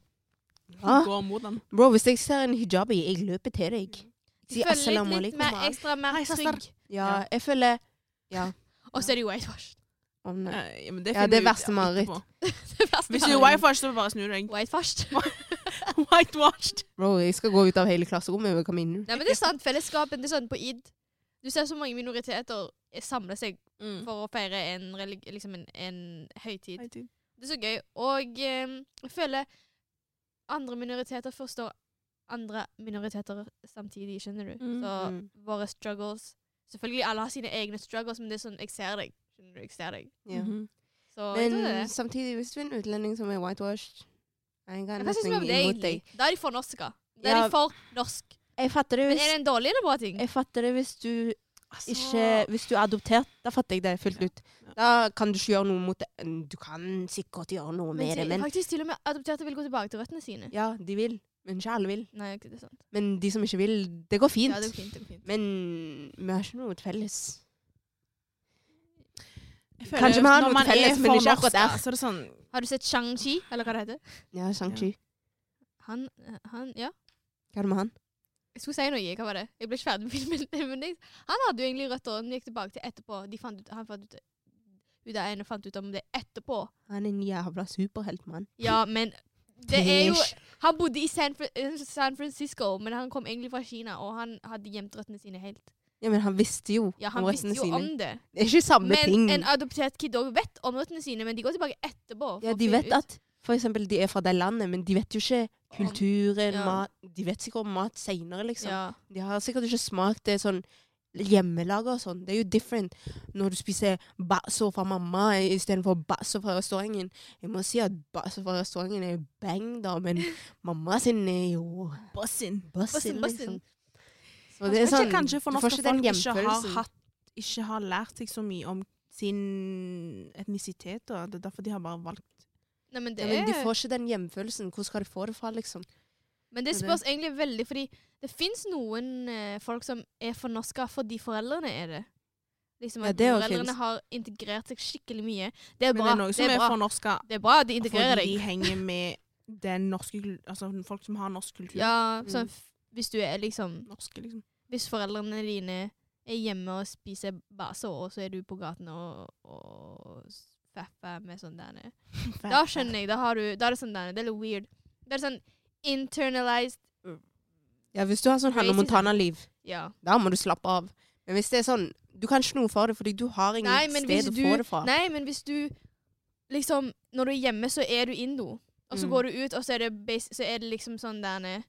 Speaker 2: Ja.
Speaker 3: Går mot den.
Speaker 2: Bro, hvis jeg ser en hijabi, jeg løper til deg.
Speaker 1: Mm. Du
Speaker 2: Sier
Speaker 1: føler
Speaker 2: assalamu
Speaker 1: deg litt
Speaker 2: alaikum.
Speaker 1: mer ekstra mer
Speaker 3: Hei, søster.
Speaker 1: trygg.
Speaker 2: Ja, jeg føler
Speaker 1: Og så er det jo whitewash.
Speaker 2: Å nei.
Speaker 3: Eh, Ja, men det
Speaker 2: Ja,
Speaker 3: finner
Speaker 2: det er
Speaker 3: vi ut
Speaker 2: verste mareritt.
Speaker 3: etterpå.
Speaker 1: *laughs* Det verste
Speaker 3: Hvis du er
Speaker 1: var-
Speaker 3: whitewash, så bare snur du deg.
Speaker 1: Whitewash.
Speaker 3: Whitewashed.
Speaker 2: Bro, jeg skal gå ut av hele klasserommet og komme inn.
Speaker 1: Nei, men det er sant. Fellesskapen. Det er sånn på id. Du ser så mange minoriteter samle seg
Speaker 3: Mm.
Speaker 1: for å feire en, relig- liksom en, en høytid.
Speaker 3: Høytid.
Speaker 1: Det er så gøy. Og eh, jeg føler andre minoriteter forstår andre minoriteter samtidig, skjønner du?
Speaker 3: Mm.
Speaker 1: Så
Speaker 2: Mm.
Speaker 1: våre struggles Selvfølgelig alle har sine egne struggles, men det er sånn Jeg ser deg. Skjønner du? Jeg ser deg.
Speaker 2: Ja.
Speaker 3: Mhm.
Speaker 1: Så jeg tror det er
Speaker 2: Men
Speaker 1: det.
Speaker 2: samtidig, hvis du er en utlending som er whitewashed I ain't got
Speaker 1: Men Hva syns du
Speaker 2: nothing
Speaker 1: om det,
Speaker 2: imot
Speaker 1: egentlig?
Speaker 2: deg.
Speaker 1: Da er de for norske. Da er
Speaker 2: Ja.
Speaker 1: de for norsk.
Speaker 2: Jeg fatter det
Speaker 1: Men
Speaker 2: hvis
Speaker 1: er det en dårlig eller bra ting?
Speaker 2: Jeg fatter det hvis du
Speaker 3: Altså,
Speaker 2: ikke Hvis du er adoptert, da fatter jeg det fullt
Speaker 3: Ja.
Speaker 2: ut. Da kan du ikke gjøre noe mot det. Du kan sikkert gjøre noe
Speaker 1: Men
Speaker 2: med det,
Speaker 1: til,
Speaker 2: men
Speaker 1: faktisk til og med adopterte vil gå tilbake til røttene sine.
Speaker 2: Ja, de vil. Men ikke alle vil.
Speaker 1: Nei, ok, det er sant.
Speaker 2: Men de som ikke vil, det går fint.
Speaker 1: Ja, det er fint, det er fint.
Speaker 2: Men vi har ikke noe felles.
Speaker 3: jeg føler
Speaker 2: Kanskje vi har
Speaker 3: når
Speaker 2: noe
Speaker 3: man
Speaker 2: felles,
Speaker 3: er
Speaker 2: men
Speaker 3: for
Speaker 2: ikke akkurat
Speaker 3: norsk,
Speaker 2: der.
Speaker 3: Så er det sånn
Speaker 1: Har du sett Shang-Chi, eller hva det heter?
Speaker 2: Ja, Shang-Chi.
Speaker 1: Han, eh, han, ja.
Speaker 2: Hva er det med han?
Speaker 1: Jeg skulle si noe, hva var det? Jeg ble *laughs* ikke ferdig med filmen. Men jeg, han hadde jo egentlig røtter, og han gikk tilbake til etterpå. De fant ut, han fant ut Hun der ene fant ut om det etterpå.
Speaker 2: Han er en jævla superhelt, mann.
Speaker 1: Ja, men det er jo
Speaker 2: Æsj.
Speaker 1: Han bodde i San, Fr- eh, San Francisco, men han kom egentlig fra Kina, og han hadde gjemt røttene sine helt.
Speaker 2: Ja, men han visste jo
Speaker 1: Ja, han
Speaker 2: om
Speaker 1: visste
Speaker 2: røttene
Speaker 1: jo
Speaker 2: sine.
Speaker 1: om det.
Speaker 2: Det er ikke samme
Speaker 1: Men
Speaker 2: ting.
Speaker 1: en adoptert kid òg vet om røttene sine, men de går tilbake etterpå. for
Speaker 2: Ja,
Speaker 1: å
Speaker 2: de
Speaker 1: finne
Speaker 2: vet
Speaker 1: ut.
Speaker 2: at for eksempel, de er fra det landet, men de vet jo ikke kulturen,
Speaker 1: Ja.
Speaker 2: mat De vet sikkert om mat seinere, liksom.
Speaker 1: ja.
Speaker 2: De har sikkert ikke smakt det sånn hjemmelaga og sånn. Det er jo different når du spiser basso fra mamma istedenfor basso fra restauranten. Jeg må si at basso fra restauranten er jo bang, da, *laughs* men mamma sin er jo
Speaker 3: Bossin.
Speaker 2: bassin,
Speaker 1: Bassin,
Speaker 2: liksom.
Speaker 1: bassin.
Speaker 2: Så det er
Speaker 3: Kanskje-
Speaker 2: sånn,
Speaker 3: kanskje for
Speaker 2: du får
Speaker 3: norske
Speaker 2: ikke den
Speaker 3: folk ikke har,
Speaker 2: hjemfølelsen.
Speaker 3: hatt, ikke har lært seg så mye om sin etnisitet. Da. Det er derfor de har bare valgt
Speaker 1: Nei, men det
Speaker 2: Ja,
Speaker 1: er
Speaker 2: men de får ikke den hjemfølelsen. Hvor skal de få det fra, liksom?
Speaker 1: Men det
Speaker 2: Det er det.
Speaker 1: spørs egentlig veldig, fordi det fins noen eh, folk som er fornorska fordi foreldrene er det. Liksom
Speaker 2: Ja,
Speaker 1: at
Speaker 2: det også
Speaker 1: foreldrene
Speaker 2: finnes.
Speaker 1: har integrert seg skikkelig mye. Det er
Speaker 3: Men
Speaker 1: bra.
Speaker 3: det er noen
Speaker 1: Det
Speaker 3: som
Speaker 1: er
Speaker 3: er
Speaker 1: bra,
Speaker 3: fornorska
Speaker 1: det er bra at de integrerer
Speaker 3: fordi de
Speaker 1: deg.
Speaker 3: henger med den norske kul- Altså folk som har norsk kultur.
Speaker 1: Ja, sånn, f- hvis du er liksom
Speaker 3: Norske, liksom.
Speaker 1: Hvis foreldrene dine er hjemme og spiser base, og så er du på gaten og, og faffer med sånn der nede. Da skjønner jeg. Da, har du, da er det sånn der nede. Det er litt weird. Det er sånn internalized
Speaker 2: Ja, hvis du har sånn Hanne
Speaker 1: Racism.
Speaker 2: Montana-liv,
Speaker 1: Ja.
Speaker 2: da må du slappe av. Men hvis det er sånn Du kan ikke noe for det, fordi du har ingen
Speaker 1: Nei, men
Speaker 2: sted
Speaker 1: hvis
Speaker 2: å
Speaker 1: du-
Speaker 2: få det fra.
Speaker 1: Nei, men hvis du liksom Når du er hjemme, så er du indo. Og så
Speaker 2: Mm.
Speaker 1: går du ut, og så er det, bas- så er det liksom sånn der nede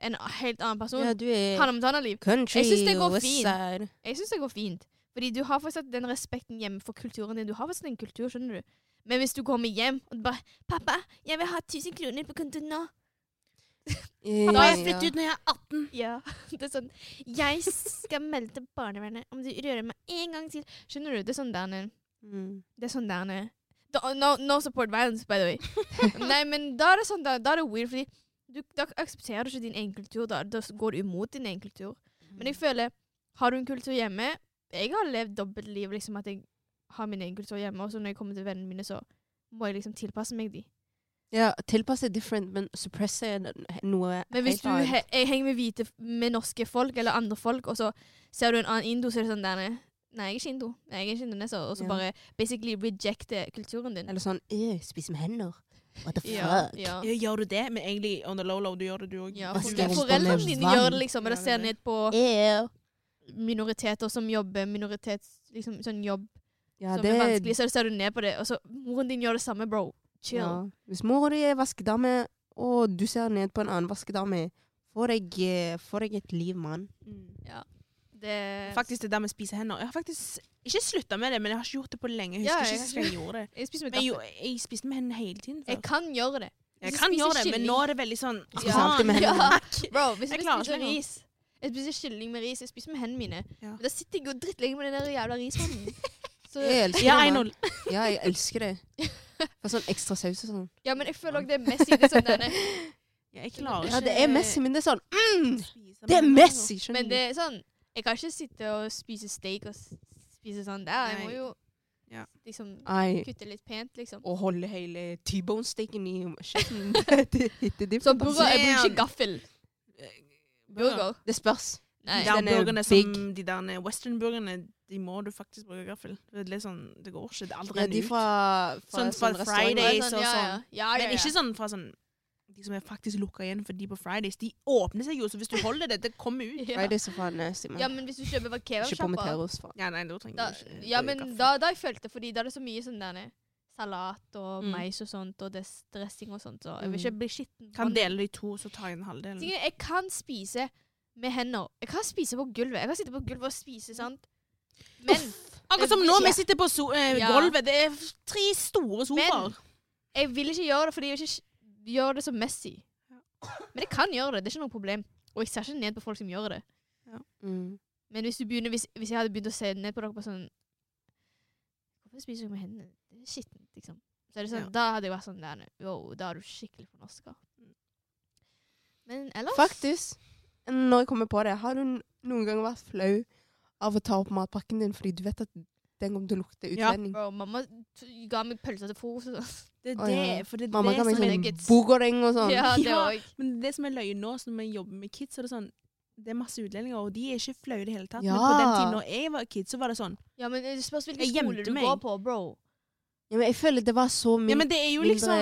Speaker 1: En helt annen person.
Speaker 2: Ja, du er
Speaker 1: Han om liv.
Speaker 2: country
Speaker 1: Jeg synes det går
Speaker 2: west
Speaker 1: fint.
Speaker 2: side.
Speaker 1: Jeg syns det går fint. Fordi du har fortsatt den respekten hjemme for kulturen din. Du har fortsatt en kultur, skjønner du. Men hvis du kommer hjem og bare 'Pappa, jeg vil ha 1000 kroner på kontoen nå.'
Speaker 2: Ja,
Speaker 3: Da har
Speaker 2: ja.
Speaker 3: jeg flyttet ut når jeg er 18.
Speaker 1: Ja. *laughs* Det er sånn 'Jeg skal melde til barnevernet om du rører meg en gang til.' Skjønner du? Det er sånn der nede.
Speaker 2: Mm.
Speaker 1: Det er sånn der nede. Da- uh, No, no support violence, by the
Speaker 2: *laughs*
Speaker 1: way. Nei, men da er det sånn, da, da er det weird, fordi du, da aksepterer du ikke din egen kultur. Da, da går du imot din egen kultur.
Speaker 2: Mhm.
Speaker 1: Men jeg føler, har du en kultur hjemme Jeg har levd dobbeltliv, liksom at jeg har min egen kultur hjemme. Og så når jeg kommer til vennene mine, så må jeg liksom tilpasse meg de.
Speaker 2: Ja, tilpass er different, men suppress er n- noe
Speaker 1: Men hvis
Speaker 2: helt
Speaker 1: du he
Speaker 2: annet.
Speaker 1: jeg henger med hvite f- med norske folk eller andre folk, og så ser du en annen indo, så er det sånn der nede. Nei, jeg er ikke indo. Nei, jeg er ikke indoneser. Og så
Speaker 2: Ja.
Speaker 1: bare basically rejecte kulturen din.
Speaker 2: Eller sånn øh, Spis med hender. What the fuck?
Speaker 1: Ja, ja.
Speaker 3: Ja, Gjør du det? Men egentlig on the low-low, du gjør det, du òg.
Speaker 1: Ja,
Speaker 2: Vaske
Speaker 1: for
Speaker 2: rumpa
Speaker 1: foreldrene
Speaker 2: med Eh.
Speaker 1: dine
Speaker 2: vann.
Speaker 1: gjør det liksom, eller
Speaker 3: Ja, det
Speaker 1: ser
Speaker 3: er det.
Speaker 1: ned på
Speaker 2: Ew.
Speaker 1: minoriteter som jobber, minoritets, liksom sånn jobb
Speaker 2: Ja,
Speaker 1: som
Speaker 2: det
Speaker 1: er vanskelig, så ser du ned på det, og så moren din gjør det samme, bro. Chill.
Speaker 2: Ja. Hvis mora di er vaskedame, og du ser ned på en annen vaskedame, få deg, eh, få deg et liv, mann.
Speaker 1: Det,
Speaker 3: Mm. Faktisk det der med å spise hender. Jeg har faktisk ikke slutta med det, men jeg har ikke gjort det på lenge. Jeg
Speaker 1: Ja,
Speaker 3: husker
Speaker 1: jeg
Speaker 3: ikke hvordan jeg gjorde det.
Speaker 1: Jeg spiser med
Speaker 3: Men jo,
Speaker 1: kaffe.
Speaker 3: jeg spiste med hendene hele tiden.
Speaker 1: Jeg
Speaker 3: før.
Speaker 1: kan gjøre det.
Speaker 3: Jeg
Speaker 1: Hvis
Speaker 3: kan
Speaker 1: spiser
Speaker 3: gjøre det, men
Speaker 1: kylling-
Speaker 2: *laughs*
Speaker 3: nå er det veldig sånn
Speaker 2: Jeg
Speaker 3: ah,
Speaker 2: spiser alltid med hendene.
Speaker 3: takk.
Speaker 1: Bro, hvis
Speaker 3: Jeg
Speaker 1: jeg,
Speaker 3: klarer
Speaker 1: spiser
Speaker 3: ikke lenger.
Speaker 1: ris Jeg spiser kylling med ris. Jeg spiser med hendene mine.
Speaker 3: Ja.
Speaker 1: Men Da sitter jeg jo drittlenge med den der jævla
Speaker 2: *laughs*
Speaker 1: rismannen. Så,
Speaker 2: Jeg elsker
Speaker 3: *laughs* Ja,
Speaker 2: det,
Speaker 3: I
Speaker 2: mann.
Speaker 3: know.
Speaker 2: Ja, jeg elsker det. For sånn ekstra saus og sånn.
Speaker 1: ja, men jeg føler òg det er Messi. Det er sånn denne.
Speaker 3: Ja, jeg klarer
Speaker 2: Ja,
Speaker 3: ikke
Speaker 2: det er Messi, men det er sånn mm, Det er Messi! Skjønner
Speaker 1: Men det er
Speaker 2: du?
Speaker 3: Mm.
Speaker 1: sånn Jeg kan ikke sitte og spise steak og s- spise sånn der. Jeg må
Speaker 3: Nei.
Speaker 1: jo
Speaker 3: Ja.
Speaker 1: liksom
Speaker 2: Nei.
Speaker 1: kutte litt pent, liksom.
Speaker 2: Å holde hele T-bone-steken i kjeften *laughs* Det er
Speaker 1: Så
Speaker 2: different, ass.
Speaker 1: burger Jeg bruker ikke
Speaker 3: Damn.
Speaker 1: gaffel. Eh, Burger.
Speaker 2: Det spørs.
Speaker 1: Nei.
Speaker 3: De
Speaker 2: Den er
Speaker 3: burgerne som
Speaker 2: big.
Speaker 3: De der western-burgerne, de må du faktisk bruke gaffel. Det er litt sånn Det går ikke. Det er
Speaker 2: Ja,
Speaker 3: allerede
Speaker 2: de fra, fra
Speaker 3: Sånn fra
Speaker 2: restaurant.
Speaker 1: Det er
Speaker 3: Fridays
Speaker 1: ja,
Speaker 3: og
Speaker 1: ja.
Speaker 3: sånn.
Speaker 1: Ja, ja,
Speaker 3: Men
Speaker 1: ja.
Speaker 3: ikke sånn fra sånn De som er faktisk lukka igjen for de på Fridays, de åpner seg jo, så hvis du holder det, det kommer ut.
Speaker 1: *laughs* *laughs* Ja.
Speaker 2: Fridays er faen nasty,
Speaker 1: Ja,
Speaker 2: mann.
Speaker 1: men hvis du kjøper fra
Speaker 2: Ikke på med
Speaker 1: kebabsjappa
Speaker 2: terrors, faen.
Speaker 3: Ja, nei, da trenger
Speaker 1: da-
Speaker 3: du ikke
Speaker 1: Ja,
Speaker 3: bruke
Speaker 1: men
Speaker 3: gaffel.
Speaker 1: da, da jeg følte fordi da er det så mye sånn der salat og
Speaker 3: Mm.
Speaker 1: mais og sånt, og det er dressing og sånt, så jeg vil
Speaker 2: Mm.
Speaker 1: ikke bli skitten. på
Speaker 3: Kan
Speaker 1: den.
Speaker 3: dele det i to, så tar jeg den halvdelen.
Speaker 1: Tingen er, Jeg kan spise med hender. Jeg kan spise på gulvet. Jeg kan sitte på gulvet og spise, sant? Men
Speaker 3: Akkurat som nå, vi sitter på so eh,
Speaker 1: Ja.
Speaker 3: gulvet. Det er f- tre store sofaer.
Speaker 1: jeg vil ikke gjøre det fordi jeg vil ikke gjøre det som Messi.
Speaker 3: Ja.
Speaker 1: Men jeg kan gjøre det. Det er ikke noe problem. Og jeg ser ikke ned på folk som gjør det.
Speaker 2: Mm.
Speaker 1: Men hvis, du begynner, hvis, hvis jeg hadde begynt å se ned på dere på sånn Hvorfor spiser dere med hendene? Det er skittent, liksom. Så er det sånn,
Speaker 3: Ja.
Speaker 1: Da hadde jeg vært sånn der Wow, da er du skikkelig fornorska.
Speaker 3: Mm.
Speaker 1: Men ellers
Speaker 2: Faktisk, når jeg kommer på det, har du n- noen gang vært flau av å ta opp matpakken din fordi du vet at den kommer til å lukte
Speaker 3: Ja.
Speaker 2: utlending?
Speaker 1: Bro, mamma t- ga meg pølser til frokost. og sånn.
Speaker 3: Det er
Speaker 2: Å, ja.
Speaker 3: det, for det er
Speaker 2: Mamma
Speaker 3: det
Speaker 2: kan
Speaker 3: som
Speaker 2: bli
Speaker 3: er
Speaker 2: sånn
Speaker 1: nuggets.
Speaker 2: bogoreng og sånn.
Speaker 1: *laughs* Ja, det
Speaker 3: Ja.
Speaker 1: òg.
Speaker 3: Men det som er løgn nå, som jeg jobber med kids, så er det sånn det er masse utlendinger, og de er ikke flaue i det hele tatt.
Speaker 2: Ja.
Speaker 3: Men på den tiden da jeg var kid, så var det sånn.
Speaker 1: Ja, men det spørs hvilken
Speaker 3: Jeg
Speaker 1: skole
Speaker 3: gjemte
Speaker 1: du
Speaker 3: meg.
Speaker 1: går på, bro.
Speaker 2: Ja, men jeg føler det var så mye
Speaker 3: Ja, men det er jo liksom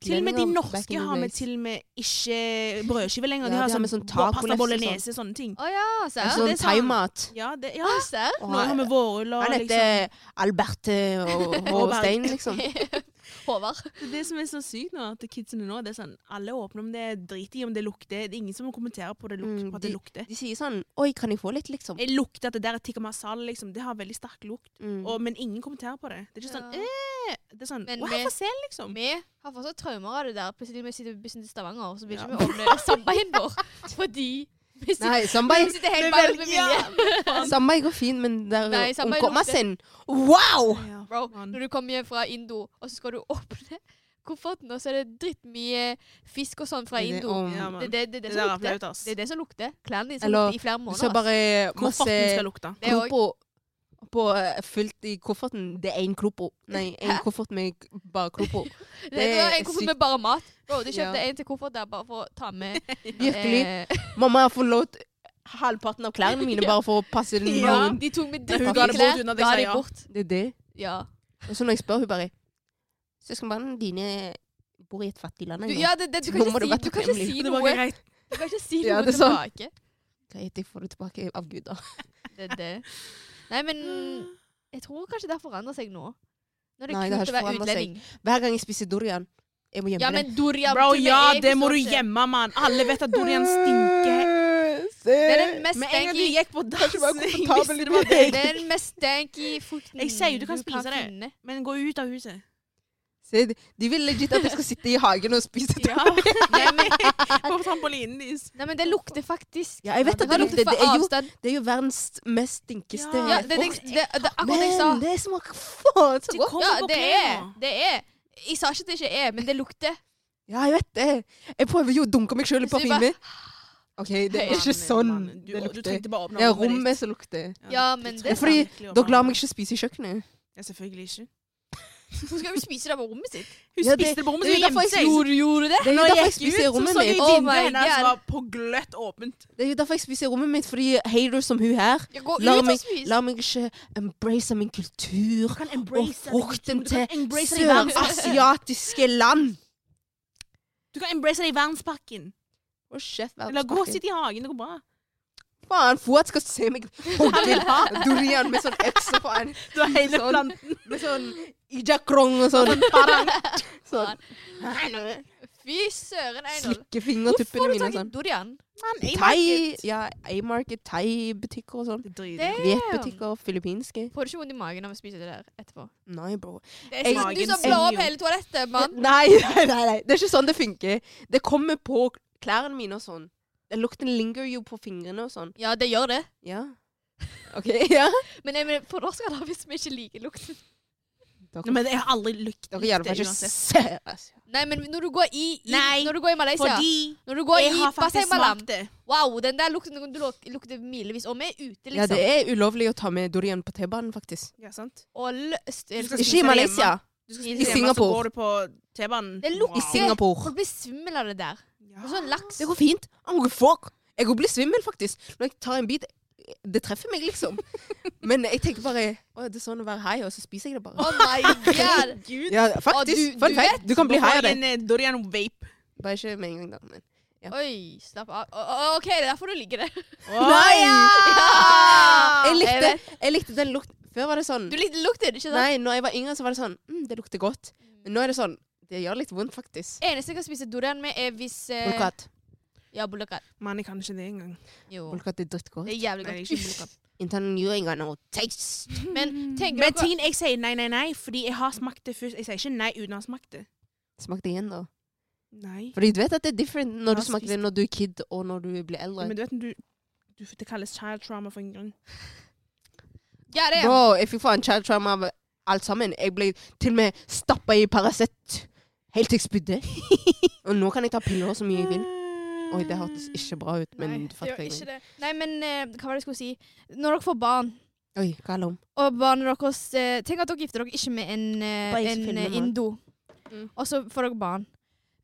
Speaker 3: Til og med de norske har vi
Speaker 2: med
Speaker 3: til og med ikke brødskive lenger.
Speaker 2: Ja,
Speaker 3: de
Speaker 2: de har
Speaker 3: har sånn,
Speaker 2: med sånn
Speaker 3: bo- pasta
Speaker 2: tacolefse
Speaker 3: bolognese, sånne ting.
Speaker 1: Å ja, serr?
Speaker 2: Sånn
Speaker 3: det er sånn-
Speaker 2: thaimat.
Speaker 3: Ja, det, ja.
Speaker 1: Ja, serr?
Speaker 2: Og
Speaker 3: Nå har vi vårruller.
Speaker 2: Han
Speaker 3: Liksom.
Speaker 2: heter Alberte
Speaker 3: *laughs*
Speaker 2: og
Speaker 3: Og Berg.
Speaker 2: Håstein, liksom.
Speaker 1: *laughs* Håvard.
Speaker 3: Det er Det som er så sykt nå, at kidsene nå, det er sånn Alle er åpne om det, driter i om det lukter. Det er ingen som kommenterer på, det luk,
Speaker 2: Mm,
Speaker 3: på at det lukter.
Speaker 2: De sier sånn Oi, kan jeg få litt, liksom?
Speaker 3: Jeg lukter at det der er tikka masala, liksom. Det har veldig sterk lukt.
Speaker 2: Mm.
Speaker 3: Eh, Og, men ingen kommenterer på det. Det er ikke sånn
Speaker 1: Ja.
Speaker 3: eh, Det er sånn
Speaker 1: Men
Speaker 3: Å,
Speaker 1: vi-
Speaker 3: her får sel, liksom.
Speaker 1: Vi har fortsatt traumer av det der. Plutselig vi sitter på bussen til Stavanger, og så vil
Speaker 3: Ja.
Speaker 1: ikke vi åpne
Speaker 2: *laughs*
Speaker 1: samveien vår. *laughs* Fordi vi sitter,
Speaker 2: Nei,
Speaker 1: vi
Speaker 2: Sambai,
Speaker 1: sitter
Speaker 3: Det
Speaker 1: helt
Speaker 3: er
Speaker 1: bak
Speaker 3: vel-
Speaker 1: med
Speaker 3: ja.
Speaker 1: vilje.
Speaker 2: Sambai går fin, men der
Speaker 1: Nei, Sambai
Speaker 2: omkommer
Speaker 1: lukter.
Speaker 2: sin Wow!
Speaker 3: Ja,
Speaker 1: Bro,
Speaker 3: man.
Speaker 1: når du kommer hjem fra Indo, og så skal du åpne kofferten, og så er det drittmye fisk og sånn fra
Speaker 2: Det er
Speaker 1: Indo.
Speaker 2: om-
Speaker 3: Ja, man.
Speaker 1: Det er det, det, er det
Speaker 3: Det
Speaker 1: som
Speaker 3: der er
Speaker 1: lukter.
Speaker 3: flaut, ass.
Speaker 1: Det er det som lukter. Klærne dine som
Speaker 2: Eller-
Speaker 1: lukter i flere
Speaker 2: Så
Speaker 1: måneder. ass.
Speaker 2: bare masse
Speaker 3: Kofferten skal lukte.
Speaker 1: Det òg.
Speaker 2: klopo på, fullt i kofferten. Det er én klopo. Nei, en koffert med bare klopo.
Speaker 1: *laughs* Det er
Speaker 2: er
Speaker 1: en koffert
Speaker 2: sykt.
Speaker 1: med bare mat. Bro, du kjøpte
Speaker 2: Ja.
Speaker 1: en til koffert der bare for å ta
Speaker 2: *laughs*
Speaker 1: med
Speaker 2: Virkelig.
Speaker 1: Eh,
Speaker 2: Mamma har forlatt halvparten av klærne
Speaker 1: *laughs*
Speaker 2: mine bare for å passe den
Speaker 3: Ja.
Speaker 2: morgenen.
Speaker 1: de tok med
Speaker 3: Ja, hun
Speaker 1: drittmye
Speaker 3: ga det bort
Speaker 1: klær,
Speaker 3: uten at jeg
Speaker 1: ga
Speaker 3: sa
Speaker 1: de
Speaker 3: ja.
Speaker 1: bort.
Speaker 2: Det er det.
Speaker 1: Ja.
Speaker 2: Og så når jeg spør, hun bare Søskenbarna dine bor i et fattig land.
Speaker 1: Du,
Speaker 2: en gang.
Speaker 1: ja, det, det, du kan
Speaker 2: Nå må
Speaker 1: ikke
Speaker 2: du
Speaker 1: si,
Speaker 2: være
Speaker 1: du kan ikke
Speaker 2: takknemlig.
Speaker 1: si
Speaker 3: Det
Speaker 1: noe,
Speaker 3: var greit.
Speaker 1: du kan ikke si noe
Speaker 2: Ja, det er sånn. sant.
Speaker 1: tilbake.
Speaker 2: Greit, jeg får det tilbake av Gud, da.
Speaker 1: Det, er det. Nei, men jeg tror kanskje det har forandret seg nå. Nå er det
Speaker 2: Nei, det har
Speaker 1: kult å
Speaker 2: ikke
Speaker 1: være
Speaker 2: forandret seg.
Speaker 1: utlending.
Speaker 2: Hver gang jeg spiser durian, jeg må gjemme
Speaker 1: Ja, men Dorian
Speaker 3: Bro,
Speaker 1: til og med
Speaker 3: ja,
Speaker 1: jeg
Speaker 3: det må
Speaker 1: forstår
Speaker 3: du
Speaker 1: ikke.
Speaker 3: gjemme, mann. Alle vet
Speaker 2: det.
Speaker 3: at
Speaker 2: *laughs*
Speaker 3: durian stinker.
Speaker 2: Det
Speaker 1: Det er den mest
Speaker 3: Med en gang du
Speaker 1: stanky
Speaker 3: gikk på dass
Speaker 2: Kanskje være
Speaker 3: jeg
Speaker 2: komfortabel
Speaker 3: visste
Speaker 2: i
Speaker 3: det var
Speaker 2: det.
Speaker 1: Det
Speaker 3: deg.
Speaker 1: er den mest stanky frukten
Speaker 3: Jeg sier jo du kan spise det.
Speaker 1: finne.
Speaker 3: Men gå ut av huset.
Speaker 2: *laughs* Se, de- de vil legit at jeg skal sitte i hagen og spise det. Ja,
Speaker 1: Nei, men,
Speaker 3: På trampolinen deres.
Speaker 1: nei, men det lukter faktisk
Speaker 2: jeg vet at det lukter
Speaker 1: fra
Speaker 2: Det er jo,
Speaker 1: avstand.
Speaker 2: det er jo verdens mest stinkeste
Speaker 3: Ja,
Speaker 1: Ja, det, det,
Speaker 2: frukt.
Speaker 1: det, det, akkurat det jeg sa.
Speaker 2: Men det smaker faen så
Speaker 3: De
Speaker 2: godt.
Speaker 3: kom
Speaker 1: Ja,
Speaker 3: på
Speaker 1: det er.
Speaker 3: klærne.
Speaker 1: Det er. Jeg sa ikke at det ikke er, men det lukter.
Speaker 2: Ja, jeg vet det. Jeg prøver jo å dunke meg sjøl i
Speaker 1: Så vi
Speaker 2: parfyme. OK, det er ikke
Speaker 3: Mannen,
Speaker 2: sånn
Speaker 3: mannen. Du,
Speaker 2: det
Speaker 3: du
Speaker 2: lukter.
Speaker 3: trengte bare åpne
Speaker 2: Det er
Speaker 3: øynene ditt.
Speaker 2: rommet som lukter.
Speaker 1: Ja, men det er
Speaker 3: trengte
Speaker 2: Fordi
Speaker 3: virkelig å
Speaker 2: dere lar
Speaker 3: åpne
Speaker 2: meg ikke spise i kjøkkenet.
Speaker 3: øynene. Ja, selvfølgelig ikke.
Speaker 1: Hun skal jo spise det på rommet sitt.
Speaker 3: Hun
Speaker 2: Ja, det-
Speaker 3: spiste det på rommet,
Speaker 2: det er
Speaker 3: så
Speaker 2: jo
Speaker 3: hun
Speaker 2: derfor
Speaker 3: gjemte
Speaker 2: jeg
Speaker 3: seg.
Speaker 1: Gjorde, gjorde det?
Speaker 2: Det er jo
Speaker 3: Når jeg
Speaker 2: derfor jeg
Speaker 3: gikk
Speaker 2: spiser i
Speaker 3: ut, så
Speaker 2: rommet
Speaker 3: så jeg
Speaker 2: mitt.
Speaker 1: Oh my
Speaker 3: vinduet hennes
Speaker 1: God.
Speaker 3: var på gløtt åpent.
Speaker 2: Det er jo derfor jeg spiser i rommet mitt, fordi haters som hun her
Speaker 1: Ja, Gå
Speaker 2: La
Speaker 1: ut og
Speaker 2: meg-
Speaker 1: spis.
Speaker 2: lar meg ikke embrace min kultur
Speaker 3: kan
Speaker 2: og frukten til
Speaker 3: embrace det i verdenspakken.
Speaker 2: sørasiatiske land.
Speaker 3: *laughs* Du kan embrace det i verdenspakken.
Speaker 2: Å, sjef,
Speaker 3: Eller gå og sitt i hagen, det går bra.
Speaker 2: Faen, Fuad skal se meg hogge durian med sånn økse på en
Speaker 3: Du har *laughs* hele
Speaker 2: Sånn.
Speaker 3: planten.
Speaker 2: Med sånn ijakrong og sånn. Parang. *laughs* Sånn.
Speaker 1: Fy søren, Einol.
Speaker 2: Slikke
Speaker 1: Hvorfor
Speaker 2: fingertuppene
Speaker 1: har du
Speaker 2: mine og
Speaker 1: tatt
Speaker 2: sånn.
Speaker 1: i dorian?
Speaker 2: Thai, ja, A-market, thai-butikker og sånn.
Speaker 1: Det
Speaker 2: Vietbutikker, filippinske.
Speaker 1: Får du ikke vondt i magen av å spise det der etterpå?
Speaker 2: Nei, bro.
Speaker 1: Det er sånn,
Speaker 2: Jeg-
Speaker 1: du
Speaker 3: Magen
Speaker 1: som blar opp
Speaker 3: sier jo-
Speaker 1: hele toalettet, mann.
Speaker 2: Nei, *laughs* nei, nei, nei. Det er ikke sånn det funker. Det kommer på klærne mine og sånn. Den lukten linger jo på fingrene og sånn.
Speaker 1: Ja, det gjør det.
Speaker 2: Ja. *laughs* OK, ja.
Speaker 1: Men jeg mener, for oss skal det hvis vi ikke liker lukten.
Speaker 2: Dere,
Speaker 3: Nei, Men jeg har aldri lykt
Speaker 2: dere gjør det
Speaker 3: det
Speaker 2: ikke
Speaker 3: uansett.
Speaker 2: *laughs* seriøst.
Speaker 1: Nei, men når du går i, i,
Speaker 3: Nei,
Speaker 1: når du går i Malaysia
Speaker 3: Fordi
Speaker 1: Når du går
Speaker 3: jeg
Speaker 1: i
Speaker 3: har faktisk
Speaker 1: Basseng Malam
Speaker 3: smakt det.
Speaker 1: Wow, den der lukten du luk- lukter milevis. Og vi er ute,
Speaker 2: Ja, det
Speaker 1: liksom.
Speaker 2: er ulovlig å ta med durian på T-banen, faktisk.
Speaker 3: Ja, sant?
Speaker 1: Og løst liksom.
Speaker 2: Ikke i
Speaker 3: Du skal spise det
Speaker 2: Malaysia.
Speaker 3: Du skal
Speaker 1: I
Speaker 3: spise hjemme, så
Speaker 2: Singapore.
Speaker 3: går du på T-banen.
Speaker 1: Det
Speaker 2: I
Speaker 1: lukter-
Speaker 2: Singapore.
Speaker 1: Folk blir svimmel av det der.
Speaker 3: Ja.
Speaker 1: Og sånn laks.
Speaker 2: Det går fint. I'm good fuck. Jeg går blir svimmel, faktisk. Når jeg tar en bit Det treffer meg, *laughs* liksom. Men jeg tenker bare Å, det er sånn å være high, og så spiser jeg det bare.
Speaker 1: Oh my *laughs* god!
Speaker 3: Gud.
Speaker 2: Ja,
Speaker 1: Å,
Speaker 2: faktisk.
Speaker 1: du-
Speaker 2: Fun
Speaker 1: du
Speaker 2: fact. Du kan bli high av det.
Speaker 3: en eh, dorian vape.
Speaker 2: Bare ikke med en gang, da. Men. Ja.
Speaker 1: Oi, slapp av. Å, å, OK, det er derfor du liker det.
Speaker 2: *laughs*
Speaker 1: *laughs*
Speaker 2: Nei!
Speaker 1: Ja!
Speaker 2: Jeg
Speaker 1: Jeg
Speaker 2: likte,
Speaker 1: vet.
Speaker 2: jeg likte den lukten. Før var det sånn
Speaker 1: Du likte lukten, ikke sant?
Speaker 2: Nei, når jeg var yngre, så var det sånn mm, Det lukter godt. Men nå er det sånn Det gjør litt vondt, faktisk.
Speaker 1: Eneste jeg kan spise dorian med, er hvis eh,
Speaker 2: Bulkat.
Speaker 1: Ja, bulkat.
Speaker 3: Mann, jeg kan ikke det engang.
Speaker 1: Jo.
Speaker 2: Bulkat er
Speaker 1: Det
Speaker 2: drittgodt.
Speaker 1: er jævlig
Speaker 3: Nei,
Speaker 1: godt.
Speaker 3: ikke bulkat.
Speaker 2: Intern you ain't got no taste.
Speaker 1: Men tenker
Speaker 3: Men
Speaker 1: dere
Speaker 3: tingen jeg sier nei, nei, nei, fordi jeg har smakt det først. Jeg sier ikke nei uten å ha smakt det.
Speaker 2: Smakte igjen, da.
Speaker 3: Nei.
Speaker 2: Fordi du vet at det er different når
Speaker 3: Ja,
Speaker 2: du smaker det når du er kid, og når du blir eldre.
Speaker 3: Men du vet når du, du Det kalles child trauma for en grunn.
Speaker 1: Ja, det er
Speaker 2: Bro, jeg fikk faen child trauma av alt sammen. Jeg ble til og med stappa i Paracet helt til jeg
Speaker 1: *laughs*
Speaker 2: spydde. og nå kan jeg ta piller så mye jeg vil. Oi, det hørtes ikke bra ut, men
Speaker 1: Mm. Nei,
Speaker 2: du
Speaker 1: det gjør
Speaker 2: fatter
Speaker 1: ikke
Speaker 2: ikke.
Speaker 1: det. Nei, men eh, hva var det jeg skulle si? Når dere får barn,
Speaker 2: Oi, hva er det om?
Speaker 1: og barnet deres eh, Tenk at dere gifter dere ikke med en, eh,
Speaker 2: Bare ikke
Speaker 1: en
Speaker 2: filme
Speaker 1: eh,
Speaker 2: meg.
Speaker 1: indo,
Speaker 2: Mm.
Speaker 1: og så får dere barn.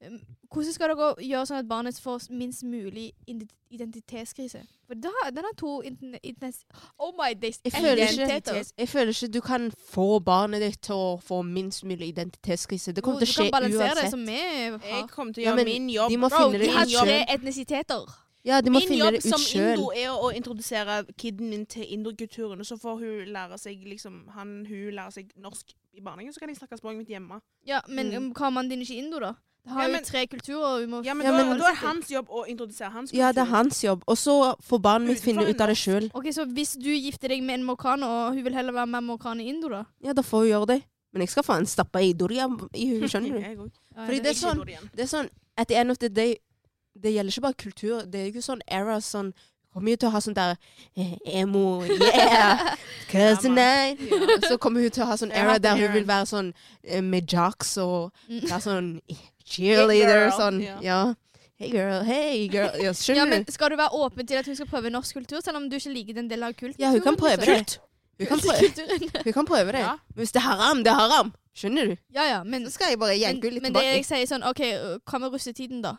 Speaker 1: Um, Hvordan skal dere gjøre sånn at barnet får minst mulig indi- identitetskrise? For da, den har to interne- intens... Oh my days!
Speaker 2: Jeg føler, ikke,
Speaker 1: identiteter.
Speaker 2: jeg føler ikke du kan få barnet ditt til å få minst mulig identitetskrise. Det
Speaker 1: Jo,
Speaker 2: kommer til å
Speaker 1: Du kan
Speaker 2: skje
Speaker 1: balansere det
Speaker 2: uansett.
Speaker 1: som vi
Speaker 3: Jeg
Speaker 1: har.
Speaker 3: kommer til å
Speaker 2: Ja,
Speaker 3: gjøre
Speaker 2: men
Speaker 3: min jobb.
Speaker 2: de må
Speaker 1: Bro,
Speaker 2: finne
Speaker 1: de
Speaker 2: det
Speaker 1: har
Speaker 2: ut
Speaker 1: tre
Speaker 2: sjøl.
Speaker 1: etnisiteter.
Speaker 2: Ja, de må
Speaker 3: Min
Speaker 2: finne
Speaker 3: jobb
Speaker 2: det ut
Speaker 3: som
Speaker 2: sjøl.
Speaker 3: indo er å introdusere kiden min til indokulturen. og Så får hun lære seg liksom, han, hun lærer seg norsk i barnehagen, så kan jeg snakke språket mitt hjemme.
Speaker 1: Ja, men
Speaker 2: Mm.
Speaker 1: um, hva om han din ikke er indo, da? Det har
Speaker 3: Ja,
Speaker 1: jo
Speaker 3: men-
Speaker 1: tre kulturer. Vi må
Speaker 3: Ja, men,
Speaker 2: Ja,
Speaker 3: da,
Speaker 2: men-
Speaker 3: da er det hans jobb å introdusere hans
Speaker 2: Ja, det er hans jobb. Og så får barnet mitt
Speaker 3: Utenfor
Speaker 2: finne
Speaker 3: en
Speaker 2: ut av det sjøl.
Speaker 1: Ok, Så hvis du gifter deg med en morkaner, og hun vil heller være med morkaner i Indo, da?
Speaker 2: Ja, da får hun gjøre det. Men jeg skal faen stappe i doria i huet, skjønner du.
Speaker 3: Jeg òg.
Speaker 1: Ja,
Speaker 2: Fordi
Speaker 1: jeg
Speaker 2: det er
Speaker 1: vet
Speaker 2: sånn- Det er sånn, at the end of the day, det gjelder ikke bare kultur. Det er jo ikke sånn era sånn Kommer jo til å ha sånn der eh, emo, yeah, cause
Speaker 3: Ja, man.
Speaker 2: tonight. Så kommer hun til å ha sånn
Speaker 3: Jeg
Speaker 2: era
Speaker 3: hater
Speaker 2: der hun
Speaker 3: Aaron.
Speaker 2: vil være sånn eh, med jocks og
Speaker 1: Mm.
Speaker 2: være sånn cheerleader
Speaker 3: girl.
Speaker 2: sånn.
Speaker 3: Ja.
Speaker 2: Ja. Hey girl, hey girl. Ja,
Speaker 1: ikke. Ja,
Speaker 2: skjønner
Speaker 1: men
Speaker 2: du?
Speaker 1: Skal du være åpen til at hun skal prøve norsk kultur, selv om du ikke liker den delen av kulturen?
Speaker 2: Ja, hun kan prøve
Speaker 1: liksom?
Speaker 2: det. Hun kan prøve, hun kan prøve det.
Speaker 3: Ja.
Speaker 2: Men hvis det er haram, det er haram. Skjønner du?
Speaker 1: *laughs* Ja, ja, men,
Speaker 2: Så skal jeg bare
Speaker 1: men,
Speaker 2: jenke litt
Speaker 1: men det jeg
Speaker 2: tilbake.
Speaker 1: sier sånn OK, øh, hva med russetiden, da?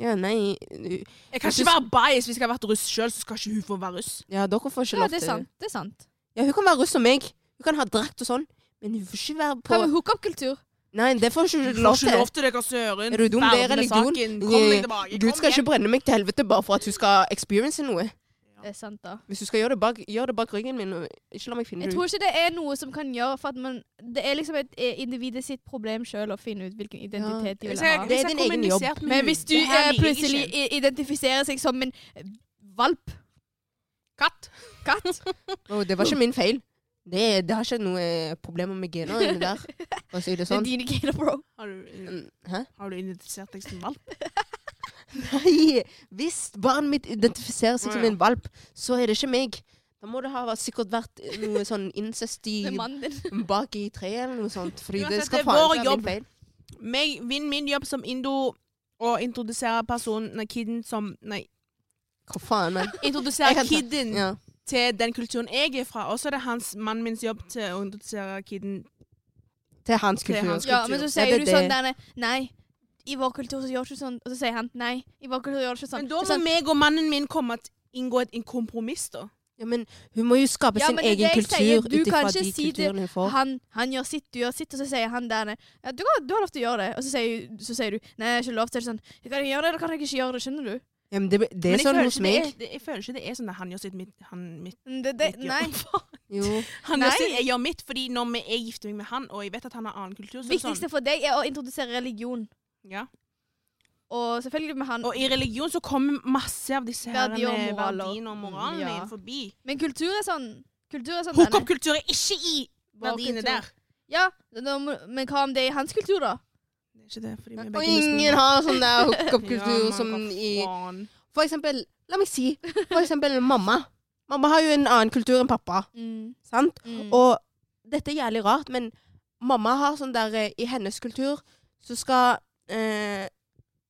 Speaker 2: Ja, nei. du-
Speaker 3: Jeg kan ikke være bias hvis jeg har vært russ sjøl, så skal ikke hun få være russ.
Speaker 2: Ja, dere får ikke
Speaker 1: Ja,
Speaker 2: lov
Speaker 1: det er
Speaker 2: til
Speaker 1: sant. det er sant.
Speaker 2: Ja, hun kan være russ som meg. Hun kan ha drakt og sånn. Men hun får ikke være på
Speaker 1: Hva med hookup-kultur?
Speaker 2: Nei, det får
Speaker 3: Du
Speaker 2: hun ikke
Speaker 3: får
Speaker 2: lov
Speaker 3: ikke
Speaker 2: til.
Speaker 3: lov til dere, søren.
Speaker 2: Er du dum? Det er
Speaker 3: Vær med
Speaker 2: religion.
Speaker 3: saken. Kom deg tilbake.
Speaker 2: Gud skal
Speaker 3: Kom
Speaker 2: ikke
Speaker 3: igjen.
Speaker 2: brenne meg til helvete bare for at hun skal experience noe.
Speaker 1: Det er sant, da.
Speaker 2: Hvis du skal gjøre det bak, gjør det bak ryggen min, og ikke la meg finne
Speaker 1: Jeg
Speaker 2: det
Speaker 1: tror
Speaker 2: ut.
Speaker 1: ikke det er noe som kan gjøre for at man Det er liksom et eh, individet sitt problem sjøl å finne ut hvilken identitet de
Speaker 3: Hvis
Speaker 1: vil
Speaker 3: jeg-
Speaker 1: ha.
Speaker 2: Det er
Speaker 3: hvis jeg
Speaker 2: din egen
Speaker 3: kommuniserte med
Speaker 1: Men
Speaker 3: hun,
Speaker 1: hvis du
Speaker 3: Mm. det her
Speaker 1: eh,
Speaker 3: liker jeg
Speaker 1: plutselig
Speaker 3: ikke.
Speaker 1: i- identifiserer seg som en eh, valp,
Speaker 3: Katt.
Speaker 1: katt
Speaker 2: Og det var ikke min feil. Det, det har ikke noe problemer med gener inni der. For å si
Speaker 3: *laughs*
Speaker 2: det
Speaker 1: Det er
Speaker 2: sånn.
Speaker 1: dine gener, bro.
Speaker 3: Har du,
Speaker 2: Mm, Hæ?
Speaker 3: har du identifisert deg som valp?
Speaker 2: Nei! Hvis barnet mitt identifiserer seg
Speaker 3: Å,
Speaker 2: som
Speaker 3: ja.
Speaker 2: en valp, så er det ikke meg. Da må det ha vært- sikkert vært noe
Speaker 3: *laughs*
Speaker 2: sånn incest i,
Speaker 1: Det er mannen din.
Speaker 2: bak i treet eller noe sånt. Fordi det
Speaker 3: Uansett,
Speaker 2: skal
Speaker 3: det er
Speaker 2: faen
Speaker 3: vår
Speaker 2: ikke være
Speaker 3: jobb.
Speaker 2: min feil.
Speaker 3: Meg, vinn min jobb som indo og introdusere personen Nei, kiden som Nei.
Speaker 2: Hva faen, men? Jeg
Speaker 3: Introdusere
Speaker 2: kan ta-
Speaker 3: kiden
Speaker 2: Ja.
Speaker 3: til den kulturen jeg er fra. Og så er det hans, mannen mins jobb til å introdusere kiden
Speaker 2: Til hans
Speaker 3: Til
Speaker 2: kultur.
Speaker 3: hans
Speaker 1: Ja, men så
Speaker 2: Ja,
Speaker 1: sier
Speaker 2: det er
Speaker 1: du
Speaker 2: det.
Speaker 1: sånn der Nei, i vår kultur så gjør du ikke sånn. Og så sier han nei, i vår kultur gjør du ikke sånn.
Speaker 3: Men da
Speaker 1: Så
Speaker 3: må
Speaker 1: sånn,
Speaker 3: meg og mannen min komme til inngå et en kompromiss, da.
Speaker 2: Ja, men hun må jo skape
Speaker 1: Ja,
Speaker 2: sin
Speaker 1: men det er det
Speaker 2: egen
Speaker 1: jeg
Speaker 2: kultur
Speaker 1: sier.
Speaker 2: ut
Speaker 1: Du kan
Speaker 2: ifra
Speaker 1: ikke
Speaker 2: de
Speaker 1: si det-
Speaker 2: kulturene hun får.
Speaker 1: han, han gjør sitt, du gjør sitt, og så sier han der ja, du, kan, du har lov til å gjøre det. Og så sier, så sier du nei, jeg har ikke lov til det. Sånn, kan jeg gjøre det, eller kan jeg ikke gjøre det? Skjønner du?
Speaker 2: Ja, men det, det
Speaker 3: Men
Speaker 2: er
Speaker 3: jeg
Speaker 2: sånn
Speaker 3: føler
Speaker 2: hos
Speaker 3: ikke det
Speaker 2: meg.
Speaker 3: er- det- Jeg føler ikke det er sånn at han gjør sitt, mitt, han, mitt,
Speaker 1: Men Det, det,
Speaker 3: mitt
Speaker 1: nei.
Speaker 3: gjør.
Speaker 2: Jo.
Speaker 3: Han
Speaker 1: Nei.
Speaker 3: gjør sitt, jeg gjør mitt, fordi når vi- jeg gifter meg med han, og jeg vet at han har annen kultur, så er det sånn
Speaker 1: Viktigste for deg er å introdusere religion.
Speaker 3: ja.
Speaker 1: Og selvfølgelig med han.
Speaker 3: Og i religion så kommer masse av disse her
Speaker 1: Verdier og
Speaker 3: med
Speaker 1: moraler.
Speaker 3: verdiene og moralene
Speaker 1: Mm, ja.
Speaker 3: inn forbi.
Speaker 1: Men kultur er sånn Kultur er sånn der, nei.
Speaker 3: Hookup-kultur er ikke i
Speaker 1: Vår
Speaker 3: verdiene
Speaker 1: kultur.
Speaker 3: der.
Speaker 1: Ja, da må, men hva om det er i hans kultur, da?
Speaker 3: Det er ikke det, fordi vi er
Speaker 2: Og
Speaker 3: begge
Speaker 2: ingen
Speaker 3: muslimer.
Speaker 2: har sånn *laughs* der
Speaker 3: Ja,
Speaker 2: hookup-kultur
Speaker 3: men
Speaker 2: som
Speaker 3: hva
Speaker 2: i
Speaker 3: faen?
Speaker 2: For eksempel, la meg si, for eksempel mamma. Mamma har jo en annen kultur enn pappa,
Speaker 1: Mm.
Speaker 2: sant?
Speaker 1: Mm.
Speaker 2: Og dette er jævlig rart, men mamma har sånn der eh, I hennes kultur så skal eh,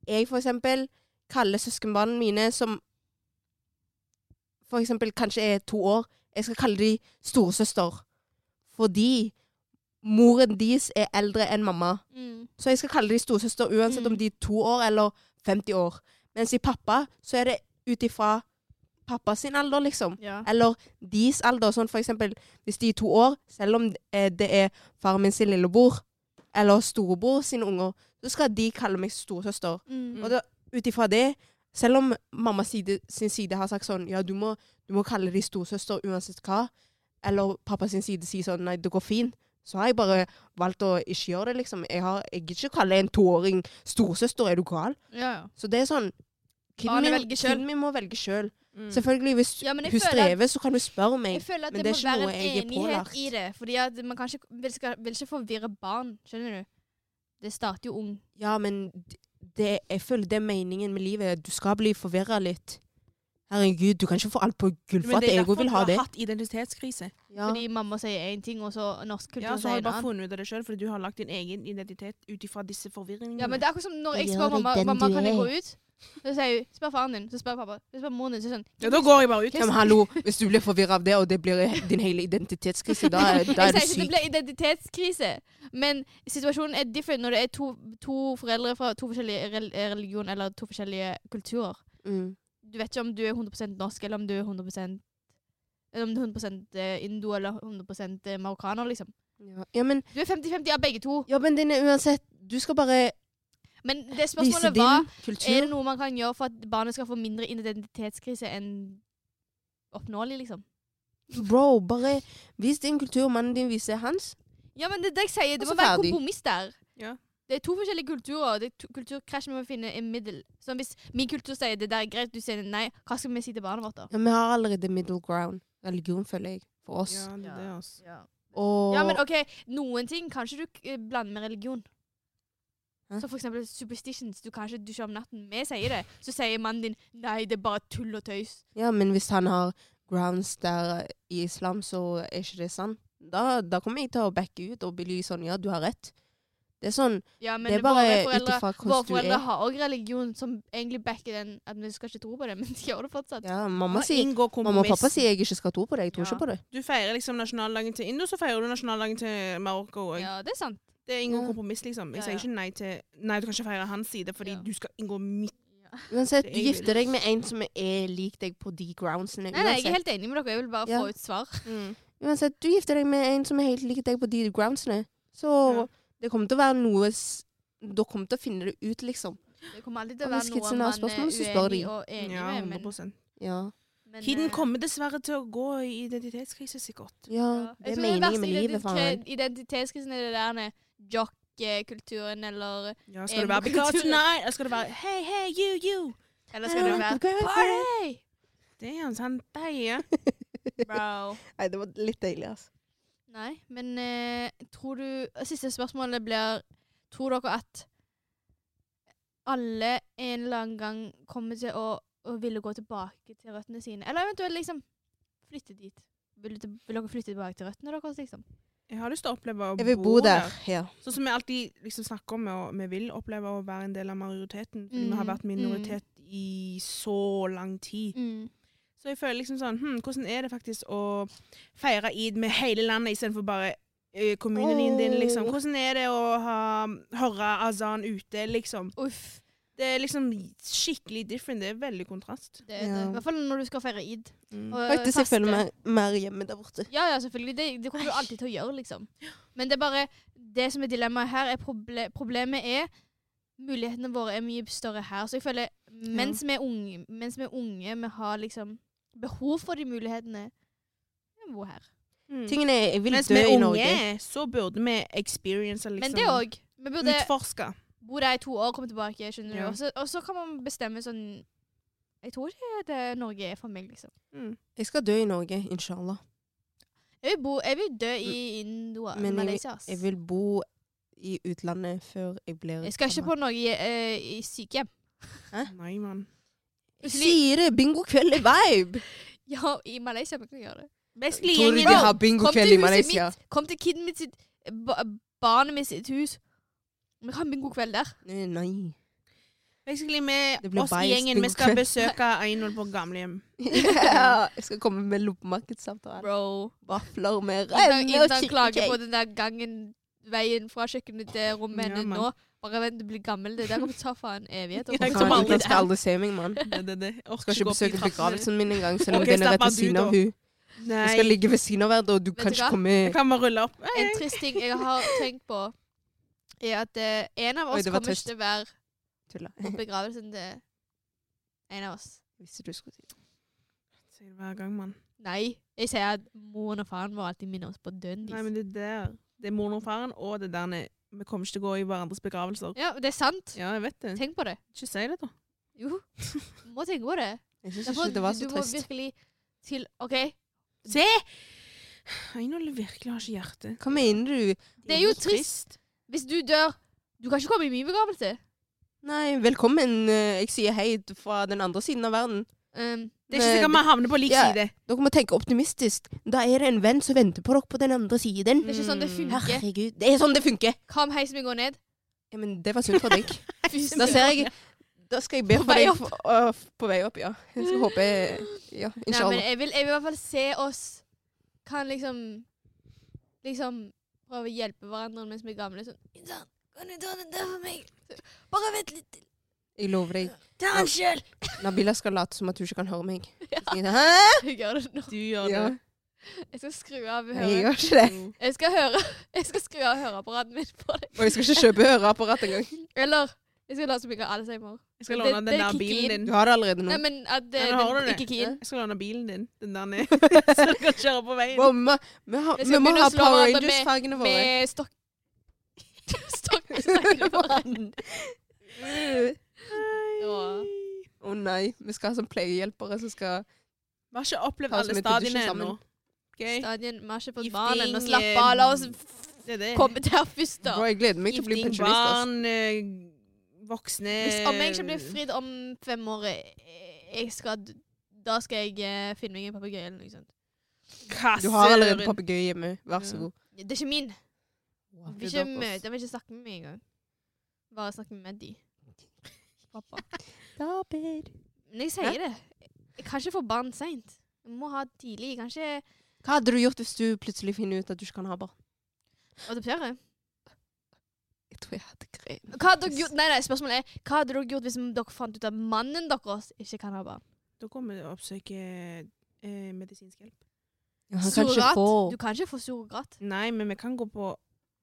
Speaker 2: jeg for eksempel kalle søskenbarna mine som for eksempel kanskje er to år, jeg skal kalle de storesøster. Fordi moren deres er eldre enn mamma.
Speaker 1: mm.
Speaker 2: Så jeg skal kalle de storesøster uansett
Speaker 1: Mm.
Speaker 2: om de er to år eller 50 år. Mens i pappa så er det ut ifra pappa sin alder, liksom.
Speaker 1: Ja.
Speaker 2: Eller deres alder. Sånn for eksempel hvis de er to år, selv om eh, det er faren min sin lillebror eller storebror sine unger, så skal de kalle meg storesøster.
Speaker 1: Mm.
Speaker 2: Og da, ut ifra det, selv om mamma side, sin side har sagt sånn Ja, du må, du må kalle de storesøster uansett hva. Eller pappa sin side sier sånn Nei, det går fint. Så har jeg bare valgt å ikke gjøre det, liksom. Jeg, har, jeg gidder ikke kalle en toåring storesøster. Er du gal?
Speaker 1: Ja, ja.
Speaker 2: Så det er sånn Kiden
Speaker 1: Barnet
Speaker 2: min,
Speaker 1: velger selv.
Speaker 2: kiden min må velge sjøl.
Speaker 3: Mm.
Speaker 2: Selvfølgelig, hvis
Speaker 1: Ja, men jeg
Speaker 2: hun
Speaker 1: føler at-
Speaker 2: strever, så kan hun spørre
Speaker 1: Jeg
Speaker 2: meg.
Speaker 1: føler at det,
Speaker 2: Men det er
Speaker 1: må
Speaker 2: ikke
Speaker 1: være
Speaker 2: noe jeg er
Speaker 1: en enighet
Speaker 2: pålagt.
Speaker 1: i det. Fordi at man kan ikke, vil, skal, vil ikke forvirre barn, skjønner du? Det starter jo ung.
Speaker 2: Ja, men d- det, jeg føler det er meningen med livet. Du skal bli forvirra litt. Herregud, du kan ikke få alt på
Speaker 3: Men det
Speaker 2: gullfat.
Speaker 3: er
Speaker 2: Ego
Speaker 3: derfor
Speaker 2: vil
Speaker 3: du
Speaker 2: ha
Speaker 3: har
Speaker 2: det.
Speaker 3: hatt identitetskrise.
Speaker 2: Ja.
Speaker 1: Fordi mamma sier én ting, og så norsk kultur
Speaker 3: Ja, så
Speaker 1: sier
Speaker 3: har du
Speaker 1: en
Speaker 3: bare
Speaker 1: annen.
Speaker 3: funnet ut av det sjøl, fordi du har lagt din egen identitet ut ifra disse forvirringene.
Speaker 1: Ja, men det er akkurat som når jeg
Speaker 2: Gjør
Speaker 1: spør
Speaker 2: deg
Speaker 1: mamma
Speaker 2: den
Speaker 1: mamma
Speaker 2: du
Speaker 1: kan jeg
Speaker 2: er.
Speaker 1: gå ut, Så sier hun spør faren din, så spør pappa, så spør moren din. Så er sånn, hun *laughs*
Speaker 3: Ja, da går jeg bare ut.
Speaker 2: Ja, men hallo, hvis du blir forvirra av det, og det blir din hele identitetskrise, da, er- da er
Speaker 1: sånn
Speaker 2: du
Speaker 1: Jeg sier ikke at det
Speaker 2: syk.
Speaker 1: blir identitetskrise, men situasjonen er different når det er to, to foreldre fra to forskjellige rel- religion eller to forskjellige kulturer.
Speaker 2: Mm.
Speaker 1: Du vet ikke om du er 100 norsk, eller om du er 100 eller om du er 100 indo eller 100 marokkaner, liksom.
Speaker 2: Ja, men,
Speaker 1: Du er 50-50 av begge to.
Speaker 2: jobben din er uansett Du skal bare
Speaker 1: Men det
Speaker 2: vise
Speaker 1: spørsmålet var
Speaker 2: din
Speaker 1: Er det
Speaker 2: kultur.
Speaker 1: noe man kan gjøre for at barnet skal få mindre identitetskrise enn oppnåelig, liksom?
Speaker 2: Bro, bare vis din kultur. Mannen din viser hans.
Speaker 1: Ja, men det er det jeg sier. Det
Speaker 2: Og
Speaker 1: må
Speaker 2: så
Speaker 1: være
Speaker 2: ferdig.
Speaker 1: kompromiss der.
Speaker 3: Ja.
Speaker 1: Det er to forskjellige kulturer. og Det er to kulturkrasj vi må finne i middel. Så hvis min kultur sier det der er greit, du sier nei, hva skal vi si til barnet vårt da?
Speaker 2: Ja, vi har allerede middle ground. Religion, føler jeg, for oss.
Speaker 3: Ja, det er det, altså.
Speaker 1: Ja.
Speaker 2: Og
Speaker 1: men OK, noen ting kan ikke du eh, blande med religion.
Speaker 2: Hæ?
Speaker 1: Så for eksempel superstitions. Du kan ikke dusje om natten. Vi sier det. Så sier mannen din nei, det er bare tull og tøys.
Speaker 2: Ja, men hvis han har grounds der i islam, så er ikke det sant. Da, da kommer jeg til å backe ut og bli sånn Ja, du har rett. Det er sånn
Speaker 1: Ja, men
Speaker 2: Det er
Speaker 1: våre
Speaker 2: bare ut
Speaker 1: foreldre-
Speaker 2: ifra
Speaker 1: Våre
Speaker 2: hvordan du
Speaker 1: foreldre
Speaker 2: er.
Speaker 1: har òg religion som egentlig backer den at vi skal ikke tro på det, *laughs* men de gjør det fortsatt.
Speaker 2: Ja, mamma,
Speaker 3: Bare
Speaker 2: sier,
Speaker 3: inngå kompromiss.
Speaker 2: mamma og pappa sier jeg ikke skal tro på det. Jeg tror
Speaker 1: Ja.
Speaker 2: ikke på det.
Speaker 3: Du feirer liksom nasjonaldagen til Indo, så feirer du nasjonaldagen til Marokko. Og
Speaker 1: Ja, det er sant.
Speaker 3: Det er inngå
Speaker 2: Ja.
Speaker 3: kompromiss, liksom. Jeg
Speaker 1: Ja,
Speaker 3: sier
Speaker 1: ja.
Speaker 3: ikke nei til Nei, du kan ikke feire hans side, fordi
Speaker 1: Ja.
Speaker 3: du skal inngå mitt.
Speaker 2: Uansett,
Speaker 3: Det er
Speaker 2: du
Speaker 3: egentlig-
Speaker 2: gifter deg med en som er lik deg på de
Speaker 1: Nei,
Speaker 2: groundsene.
Speaker 1: nei, jeg er
Speaker 2: Uansett,
Speaker 1: helt enig med dere. Jeg vil bare
Speaker 2: Ja.
Speaker 1: få ut svar.
Speaker 2: uansett du gifter deg med en som er helt lik deg på de groundsene. Så
Speaker 3: Ja.
Speaker 2: det kommer til å være noe s- Dere kommer til å finne det ut, liksom.
Speaker 1: Det kommer alltid til å
Speaker 2: Og hvis
Speaker 1: være noe
Speaker 2: kidsen har
Speaker 1: man
Speaker 2: spørsmål,
Speaker 1: er
Speaker 2: så spør
Speaker 1: uenig
Speaker 2: de.
Speaker 1: og enig
Speaker 3: Ja,
Speaker 1: med.
Speaker 3: 100
Speaker 1: Men,
Speaker 2: Ja.
Speaker 1: men,
Speaker 3: Kiden
Speaker 1: eh,
Speaker 3: kommer dessverre til å gå i identitetskrise, sikkert.
Speaker 2: ja
Speaker 1: ja.
Speaker 2: det
Speaker 1: Jeg tror
Speaker 2: er
Speaker 1: den
Speaker 2: meningen
Speaker 1: verste
Speaker 2: med livet, faen.
Speaker 1: identitet- Identitetskrisen er det der med jock-kulturen, eller
Speaker 3: Ja,
Speaker 1: Eh,
Speaker 3: skal det være
Speaker 1: men kulturen-
Speaker 3: because tonight? Eller skal det være hey, hey, you, you?
Speaker 1: Eller skal det være Party!
Speaker 3: Det er en sånn deie.
Speaker 1: Bro.
Speaker 2: Nei, det var litt deilig, altså.
Speaker 1: *laughs* Nei, men eh, tror du Siste spørsmålet blir Tror dere at alle en eller annen gang kommer til å, å ville gå tilbake til røttene sine? Eller eventuelt liksom flytte dit? Vil, du til, vil dere flytte tilbake til røttene deres, liksom?
Speaker 3: Jeg har lyst til å oppleve å
Speaker 2: Jeg vil bo der. Ja.
Speaker 3: Sånn som vi alltid liksom snakker om, og vi vil oppleve å være en del av majoriteten. Fordi vi
Speaker 1: Mhm,
Speaker 3: har vært minoritet i så lang tid. Så jeg føler liksom sånn hm, Hvordan er det faktisk å feire id med hele landet istedenfor bare eh, kommunen din, liksom?
Speaker 2: Åh.
Speaker 3: Hvordan er det å ha, høre azan ute, liksom?
Speaker 1: Uff.
Speaker 3: Det er liksom skikkelig different. Det er veldig kontrast.
Speaker 1: Det, er det.
Speaker 2: Ja.
Speaker 1: I hvert fall når du skal feire id.
Speaker 3: Mm.
Speaker 1: Og
Speaker 2: Faktisk, jeg
Speaker 1: faste.
Speaker 2: føler meg mer hjemme der borte.
Speaker 1: Ja, ja, selvfølgelig. Det, det kommer du alltid til å gjøre, liksom. Men det er bare det som er dilemmaet her. Er proble problemet er Mulighetene våre er mye større her. Så jeg føler mens vi er unge, mens vi, er unge vi har liksom behov for de mulighetene Vi må bo her.
Speaker 3: Mm.
Speaker 2: Tingene er, jeg vil
Speaker 3: Mens
Speaker 2: dø
Speaker 3: vi
Speaker 2: i
Speaker 3: er unge,
Speaker 2: Norge.
Speaker 3: så burde vi experience liksom
Speaker 1: Men det òg. Vi burde
Speaker 3: Utforske.
Speaker 1: bo der i to år, komme tilbake, skjønner
Speaker 3: Ja.
Speaker 1: du. Og så- Og så kan man bestemme sånn Jeg tror ikke det Norge er for meg, liksom.
Speaker 3: Mm.
Speaker 2: Jeg skal dø i Norge, inshallah.
Speaker 1: Jeg vil, bo, jeg vil dø i Indoa,
Speaker 2: Mm. Men
Speaker 1: Malaysia. ass.
Speaker 2: Jeg vil bo i utlandet før jeg blir
Speaker 1: jeg skal ikke på noe eh, i sykehjem.
Speaker 3: Nei, mann.
Speaker 2: Sier det! Bingokveld er vibe!
Speaker 1: Ja, i Malaysia kan jeg gjøre det.
Speaker 3: Basically,
Speaker 2: Tror du
Speaker 3: gjengen
Speaker 2: de
Speaker 1: bro,
Speaker 2: har
Speaker 1: Kom
Speaker 2: bingokveld
Speaker 1: til
Speaker 2: i
Speaker 1: huset
Speaker 2: Malaysia?
Speaker 1: mitt. Kom til kiden mitt sitt ba, Barnet mitt sitt hus. Vi kan ha en god kveld der.
Speaker 2: Nei, Nei.
Speaker 3: Basically med
Speaker 2: Det blir
Speaker 3: oss i
Speaker 2: biased
Speaker 3: gjengen, vi
Speaker 2: bingo *laughs*
Speaker 3: skal
Speaker 2: kveld.
Speaker 3: besøke Einol på gamlehjem.
Speaker 2: Ja, jeg skal komme med loppemarkedsavtale.
Speaker 1: Bro.
Speaker 2: Vafler med
Speaker 1: Intan,
Speaker 2: rømme og
Speaker 1: Intan klager på
Speaker 2: kirkekake.
Speaker 1: den der gangen Veien fra kjøkkenet til rommet
Speaker 3: Ja,
Speaker 1: hennes
Speaker 3: mann.
Speaker 1: nå. Bare vent, du blir gammel. Det der kommer til å ta faen evighet. altså. å
Speaker 3: Ja, jeg
Speaker 1: komme seg
Speaker 3: kommer aldri
Speaker 1: dit.
Speaker 2: Utenlandsk skal aldri se meg, mann.
Speaker 3: Det, det, det. Jeg
Speaker 2: Skal
Speaker 3: orker
Speaker 2: ikke
Speaker 3: gå opp i
Speaker 2: besøke
Speaker 3: trappene.
Speaker 2: begravelsen min engang, selv om
Speaker 3: Ok,
Speaker 2: den er rett
Speaker 3: slapp av
Speaker 2: ved
Speaker 3: du,
Speaker 2: siden av
Speaker 3: da.
Speaker 2: hun. Jeg skal
Speaker 3: Nei,
Speaker 2: ligge ved siden av henne, og du
Speaker 1: du
Speaker 2: kan
Speaker 1: hva?
Speaker 2: ikke komme
Speaker 3: jeg kan bare rulle opp.
Speaker 1: En trist ting jeg har tenkt på, er at eh, en av
Speaker 2: Oi,
Speaker 1: oss
Speaker 2: det var
Speaker 1: kommer
Speaker 2: trist.
Speaker 1: ikke til å være
Speaker 2: Tulla.
Speaker 1: på begravelsen til en av oss.
Speaker 2: Visste du skulle si det.
Speaker 3: Sier det hver gang, mann.
Speaker 1: Nei. Jeg sier at moren og faren vår alltid minner oss på døden
Speaker 3: Nei,
Speaker 1: deres.
Speaker 3: men det der. Det er moren og faren, og det der nede. Vi kommer ikke til å gå i hverandres begravelser.
Speaker 1: Ja, det er sant.
Speaker 3: Ja, jeg vet det.
Speaker 1: Tenk på det.
Speaker 3: Ikke si det, da.
Speaker 1: Jo, du må tenke på det.
Speaker 2: Jeg syns
Speaker 1: Derfor,
Speaker 2: ikke det var så
Speaker 1: du må
Speaker 2: trist.
Speaker 1: virkelig til OK,
Speaker 3: Se! Einol virkelig har ikke hjerte.
Speaker 2: Hva mener du?
Speaker 1: det er jo trist. Hvis du dør Du kan ikke komme i min begravelse.
Speaker 2: Nei, velkommen. eh, Jeg sier hei t- fra den andre siden av verden.
Speaker 1: Um,
Speaker 3: Det er ikke sikkert vi havner på lik
Speaker 2: Ja.
Speaker 3: side.
Speaker 2: Dere må tenke optimistisk. Da er det en venn som venter på dere på den andre siden.
Speaker 1: det er ikke sånn det
Speaker 3: Mm.
Speaker 1: funker.
Speaker 2: Herregud. Det er sånn det funker!
Speaker 1: Hva om heisen min går ned? *laughs*
Speaker 2: Ja, men det var sunt for deg.
Speaker 1: Fy
Speaker 2: Da
Speaker 1: søren.
Speaker 2: ser jeg Da skal jeg be
Speaker 1: På
Speaker 2: for
Speaker 1: vei
Speaker 2: deg
Speaker 1: opp.
Speaker 2: for, å, på vei opp, ja. Jeg skal håpe Ja,
Speaker 1: Nei, men
Speaker 2: inshallah.
Speaker 1: jeg vil, jeg vil i hvert fall se oss kan liksom Liksom prøve å hjelpe hverandre mens vi er gamle. Sånn «Insan, Kan du ta den der for meg? Så, Bare vent litt til.
Speaker 2: Jeg lover deg.
Speaker 1: Ta den sjøl!
Speaker 2: Nabila skal late som at hun ikke kan høre meg.
Speaker 1: Ja.
Speaker 2: Så sier hun, Hæ?
Speaker 1: Jeg gjør det nå.
Speaker 3: Du gjør
Speaker 2: Ja.
Speaker 3: det.
Speaker 1: Jeg skal skru av
Speaker 2: Nei, jeg
Speaker 1: høret.
Speaker 2: gjør ikke det.
Speaker 3: Jo.
Speaker 1: Jeg skal høre Jeg skal skru av høreapparatet mitt på deg.
Speaker 2: Og jeg skal ikke kjøpe høreapparat engang.
Speaker 1: Eller jeg skal late som jeg har Alzheimer.
Speaker 3: Jeg skal
Speaker 1: Det-
Speaker 3: låne den
Speaker 1: det
Speaker 3: der
Speaker 1: kicker
Speaker 3: bilen
Speaker 1: inn.
Speaker 3: din.
Speaker 2: Du har det allerede
Speaker 1: Nei,
Speaker 2: nå.
Speaker 1: men at det,
Speaker 3: Ja, nå har du
Speaker 1: det
Speaker 3: det.
Speaker 1: ikke kicker inn.
Speaker 3: Jeg skal låne bilen din. Den der
Speaker 2: *laughs*
Speaker 3: nede. *laughs* Så du kan kjøre på veien.
Speaker 2: Mamma, vi, har,
Speaker 1: Jeg
Speaker 2: vi
Speaker 1: skal
Speaker 2: må
Speaker 1: begynne å
Speaker 2: ha
Speaker 1: slå
Speaker 2: Power
Speaker 1: hverandre med-
Speaker 2: Rangers-fargene våre.
Speaker 1: Med stokk... *laughs* stokk snakker
Speaker 3: *laughs*
Speaker 1: på
Speaker 2: *laughs*
Speaker 1: hverandre. Ja.
Speaker 2: Å nei, vi skal ha sånn pleiehjelpere som skal
Speaker 3: Vi har ikke opplevd
Speaker 2: Ta oss
Speaker 3: alle
Speaker 2: med til
Speaker 3: stadiene
Speaker 2: dusjen
Speaker 3: ennå.
Speaker 2: sammen.
Speaker 3: Okay?
Speaker 1: Stadien, vi har ikke fått
Speaker 3: Gifting,
Speaker 1: barn ennå. Slapp
Speaker 3: eh,
Speaker 1: av, la oss
Speaker 3: Det er det.
Speaker 1: komme til her først, da.
Speaker 2: Bro, jeg gleder meg til å bli
Speaker 3: Gifting,
Speaker 2: pensjonist. ass.
Speaker 3: barn, eh, voksne
Speaker 1: Hvis om jeg ikke blir fridd om fem år, eh, jeg skal, d- da skal jeg eh, finne meg en papegøye eller noe sånt.
Speaker 2: Du har allerede
Speaker 3: Kassøren.
Speaker 2: papegøye hjemme. Vær så
Speaker 3: Ja.
Speaker 2: god.
Speaker 1: Det er ikke min.
Speaker 2: Wow,
Speaker 1: Jeg
Speaker 2: det
Speaker 1: vil
Speaker 2: er
Speaker 1: ikke
Speaker 2: dope, ass.
Speaker 1: møte, jeg vil ikke snakke med meg engang. Bare snakke med de. Pappa. Men jeg sier det. Jeg kan ikke få barn seint. Jeg må ha tidlig. Jeg kan ikke
Speaker 2: Hva hadde du gjort hvis du plutselig finner ut at du ikke kan ha barn?
Speaker 1: adoptere.
Speaker 2: Jeg tror jeg hadde grein.
Speaker 1: Hva hadde dere gjort? Nei, nei, spørsmålet er Hva hadde dere gjort hvis dere fant ut at mannen deres ikke kan ha barn?
Speaker 3: Da kommer vi og oppsøker eh, medisinsk hjelp.
Speaker 2: Han kan ikke få
Speaker 1: Du kan ikke få surrogat.
Speaker 3: Nei, men vi kan gå på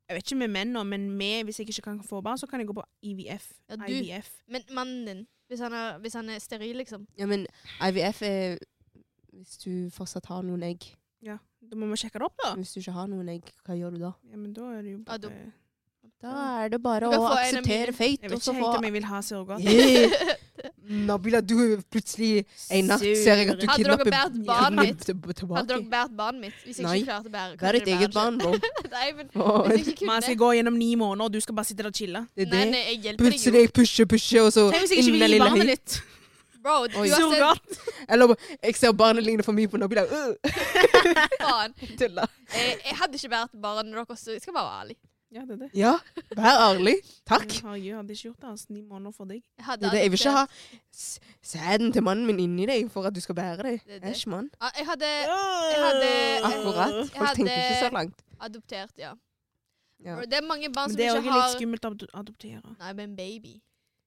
Speaker 3: Jeg vet ikke med menn nå, men med, hvis jeg ikke kan få barn, så kan jeg gå på IVF.
Speaker 1: Ja, du-
Speaker 3: IVF.
Speaker 1: Men mannen din, hvis han er, hvis han er steril, liksom
Speaker 2: Ja, men IVF er hvis du fortsatt har noen egg.
Speaker 3: Da må vi sjekke det opp, da.
Speaker 2: Hvis du ikke har noen egg, hva gjør du da?
Speaker 3: Ja, men da er det jo
Speaker 1: Ja,
Speaker 3: bare
Speaker 1: da-
Speaker 3: Jeg
Speaker 2: Da er det bare
Speaker 1: Du kan
Speaker 2: å
Speaker 1: få en av
Speaker 2: akseptere
Speaker 1: mine.
Speaker 2: fate.
Speaker 3: vet
Speaker 2: og så
Speaker 3: ikke
Speaker 2: få-
Speaker 3: helt om jeg vil ha surrogat. *laughs*
Speaker 2: Yeah. *laughs* Nabila, du er plutselig en natt ser jeg at du
Speaker 1: Hadde dere
Speaker 2: kidnapper
Speaker 1: båret barnet
Speaker 2: kidnapper
Speaker 1: mitt?
Speaker 2: til-
Speaker 1: Hadde dere
Speaker 2: tilbake.
Speaker 1: båret barnet mitt? Hvis jeg
Speaker 2: Nei.
Speaker 1: ikke klarte å bære
Speaker 2: Vær
Speaker 1: kunne
Speaker 2: ditt
Speaker 1: dere
Speaker 2: eget
Speaker 1: bære
Speaker 2: barn, bro.
Speaker 1: selv? *laughs* Nei, men
Speaker 2: Åh,
Speaker 1: hvis jeg ikke
Speaker 3: Man skal
Speaker 1: kunne
Speaker 3: gå gjennom ni måneder, og du skal bare sitte der og chille.
Speaker 2: Det er
Speaker 1: Nei,
Speaker 2: det.
Speaker 1: nei, jeg hjelper deg jo.
Speaker 2: Plutselig pushe, pushe, og så
Speaker 3: Tenk hvis jeg ikke
Speaker 2: inn den
Speaker 3: vil gi
Speaker 2: lille høy-
Speaker 3: barnet ditt
Speaker 1: Bro,
Speaker 2: Oi.
Speaker 1: uansett
Speaker 3: surrogat.
Speaker 2: Eller bare, jeg ser barnet ligner for mye på Nabila. Øh, *laughs*
Speaker 1: faen.
Speaker 2: tulla.
Speaker 1: Eh, jeg hadde ikke båret barnet deres. så Jeg skal bare være ærlig.
Speaker 3: Ja, det er det.
Speaker 2: Ja, vær ærlig. Takk.
Speaker 1: Mm.
Speaker 3: Jeg har- jeg hadde ikke gjort det, altså. Ni måneder for deg.
Speaker 1: Jeg, hadde
Speaker 2: Det er det. Jeg vil ikke ha
Speaker 1: adoptert-
Speaker 2: s- sæden til mannen min inni deg for at du skal bære det.
Speaker 1: Det er det.
Speaker 2: Æsj, mann.
Speaker 1: Ah, jeg hadde eh,
Speaker 3: hadde
Speaker 2: Akkurat.
Speaker 1: Jeg
Speaker 2: Folk tenker ikke så
Speaker 1: hadde-
Speaker 2: langt.
Speaker 1: adoptert, ja.
Speaker 2: Ja.
Speaker 1: Bro, Det er mange barn
Speaker 3: Men
Speaker 1: som
Speaker 3: det er
Speaker 1: ikke
Speaker 3: også litt
Speaker 1: har
Speaker 3: skummelt å ad- adoptere.
Speaker 1: Nei, men baby.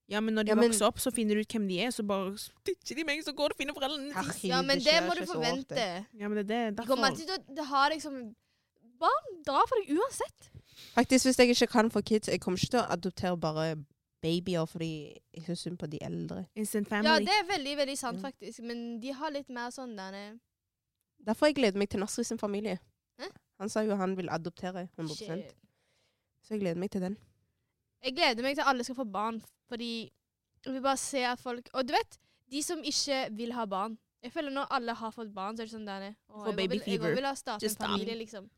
Speaker 3: Ja, men når de
Speaker 2: Ja, men-
Speaker 3: vokser opp, så finner du ut hvem de er, så bare stitcher de meg, så går det fine foreldrene.
Speaker 2: Herregud,
Speaker 1: Ja, men det
Speaker 2: skjer
Speaker 1: må
Speaker 2: ikke
Speaker 1: du
Speaker 2: så ofte.
Speaker 1: forvente.
Speaker 3: Ja, men det er det.
Speaker 1: De kommer
Speaker 3: Derfor.
Speaker 1: alltid til å ha deg som liksom Barn drar for deg uansett.
Speaker 2: Faktisk, hvis jeg ikke kan få kids, jeg kommer ikke til å adoptere bare babyer fordi jeg syns synd på de eldre.
Speaker 3: Instant
Speaker 1: Ja,
Speaker 3: family.
Speaker 1: det er veldig veldig sant,
Speaker 3: Mm.
Speaker 2: Ja.
Speaker 1: faktisk. Men de har litt mer sånn derne
Speaker 2: Derfor jeg gleder meg til Nasri sin familie.
Speaker 1: Hæ?
Speaker 2: Han sa jo han vil adoptere 100
Speaker 1: Shit.
Speaker 2: Så jeg gleder meg til den.
Speaker 1: Jeg gleder meg til alle skal få barn, fordi jeg vil bare se at folk Og du vet, de som ikke vil ha barn. Jeg føler når alle har fått barn, så er det sånn derne Å,
Speaker 3: Får
Speaker 1: jeg
Speaker 3: baby
Speaker 1: vil, jeg
Speaker 3: fever.
Speaker 1: vil ha startet en
Speaker 3: Just um,
Speaker 1: familie, liksom.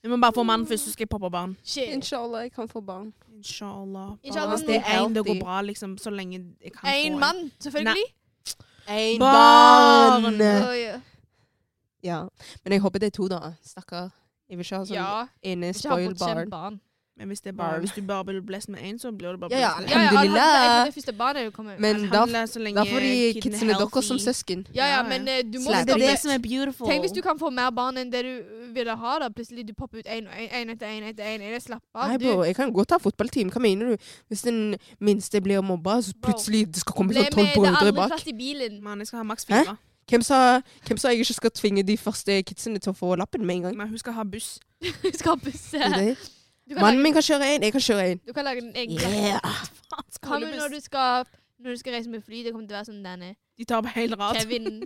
Speaker 3: Vi må bare få mann først, så skal jeg poppe barn.
Speaker 1: Shit.
Speaker 2: Inshallah, jeg kan få barn.
Speaker 3: Inshallah.
Speaker 1: Inshallah.
Speaker 3: Hvis det er en det går
Speaker 2: Healthy.
Speaker 3: bra, liksom, så lenge jeg kan få
Speaker 1: Én mann, selvfølgelig.
Speaker 2: Én
Speaker 3: Barn!
Speaker 2: barn!
Speaker 1: Oi, ja.
Speaker 2: Ja. Men jeg håper det er to, da. Stakkar. Jeg vil ikke
Speaker 3: altså,
Speaker 2: ha sånn
Speaker 1: Ja.
Speaker 2: ene
Speaker 1: Ikke ha
Speaker 2: spoiled
Speaker 1: bortskjemt
Speaker 2: barn.
Speaker 1: barn.
Speaker 3: *laughs* Men hvis, det er bare,
Speaker 2: Barn.
Speaker 3: hvis du bare blir blessed med én, så blir det bare
Speaker 2: Ja, ja.
Speaker 3: blessed med
Speaker 1: Ja, ja,
Speaker 2: Alhamdulillah.
Speaker 1: alhamdulillah, Det første barnet jo kommer.
Speaker 2: Men
Speaker 3: én.
Speaker 2: da,
Speaker 3: Handler så lenge
Speaker 2: da får de
Speaker 3: kidden er
Speaker 2: kidsene deres som
Speaker 3: healthy.
Speaker 2: søsken.
Speaker 1: Ja, ja,
Speaker 3: Ja, ja.
Speaker 1: men eh, du må
Speaker 2: Slapp.
Speaker 3: Det er det
Speaker 1: stoppe.
Speaker 3: som er beautiful.
Speaker 1: Tenk hvis du kan få mer barn enn det du ville ha. da. Plutselig du popper ut én og én, én etter én etter én. én. Slapp av.
Speaker 2: Nei,
Speaker 1: Du
Speaker 2: bro, jeg kan godt ha fotballteam. Hva mener du? Hvis den minste blir mobba, så
Speaker 1: Bro.
Speaker 2: plutselig det skal komme
Speaker 1: ble
Speaker 2: sånn tolv
Speaker 1: med det
Speaker 2: brødre
Speaker 1: andre
Speaker 2: bak.
Speaker 1: plass i bilen. *laughs*
Speaker 3: Man, jeg skal ha maks
Speaker 2: Hæ?
Speaker 3: fire.
Speaker 2: Hvem sa, hvem sa jeg ikke skal tvinge de første kidsene til å få lappen med en
Speaker 1: *laughs*
Speaker 2: gang?
Speaker 3: Men hun skal ha buss.
Speaker 1: Skal busse.
Speaker 2: Det er det.
Speaker 1: Du kan,
Speaker 2: Mannen
Speaker 1: lage,
Speaker 2: min kan kjøre én, jeg kan kjøre én.
Speaker 1: du kan lage en egen klasse.
Speaker 2: Yeah.
Speaker 1: Hva med når du skal når du skal reise med fly, det kommer til å være sånn denne
Speaker 3: De tar på hel
Speaker 1: *laughs*
Speaker 3: rad.
Speaker 1: Kevin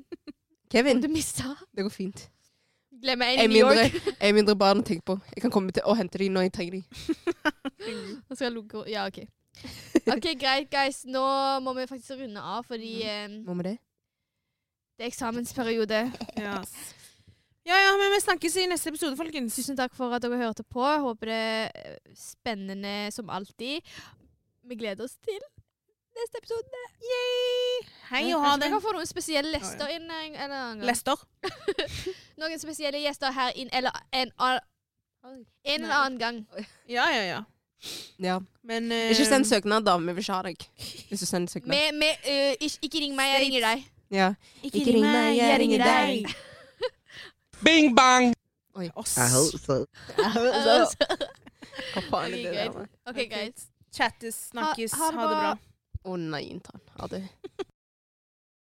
Speaker 2: Kevin,
Speaker 1: du mista.
Speaker 2: det går fint.
Speaker 1: Glemmer en i
Speaker 2: Jeg
Speaker 1: New
Speaker 2: mindre,
Speaker 1: York.
Speaker 2: *laughs* jeg mindre barn å tenke på. Jeg kan komme til å hente dem når jeg trenger dem.
Speaker 1: Og skal lukke Ja,
Speaker 2: *laughs*
Speaker 1: OK. OK, greit, guys. Nå må vi faktisk runde av, fordi
Speaker 2: Mm.
Speaker 1: eh,
Speaker 2: Må vi det?
Speaker 1: det er eksamensperiode.
Speaker 3: Ja. ja, ja, men vi snakkes i neste episode, folkens.
Speaker 1: Tusen takk for at dere hørte på. Håper det er spennende som alltid. Vi gleder oss til neste episode.
Speaker 3: Hei og ha
Speaker 1: Kanskje
Speaker 3: det.
Speaker 1: vi kan få noen spesielle gjester inn. En, en annen gang.
Speaker 3: Lester.
Speaker 1: Noen spesielle gjester her inn, eller en, a- en eller annen gang.
Speaker 3: Ja, ja, ja.
Speaker 2: Ja.
Speaker 3: Men eh,
Speaker 2: Ikke send søknad, da. Vi vil ikke ha deg. Hvis du sender søknad.
Speaker 1: Med, med, eh, ikke, ikke ring meg, jeg ringer deg. *laughs*
Speaker 2: Ja. Ikke ring meg, jeg ringer deg.
Speaker 3: Bing bang!
Speaker 2: Oi.
Speaker 3: Oss.
Speaker 4: I hope so.
Speaker 2: Hva
Speaker 1: Ok,
Speaker 2: faen er det
Speaker 1: greit.
Speaker 2: der? da?
Speaker 1: OK, guys.
Speaker 3: Chattes, snakkes,
Speaker 1: Ha-
Speaker 3: ha,
Speaker 1: ha det bra.
Speaker 3: det bra.
Speaker 2: Å nei, intern. Ha det.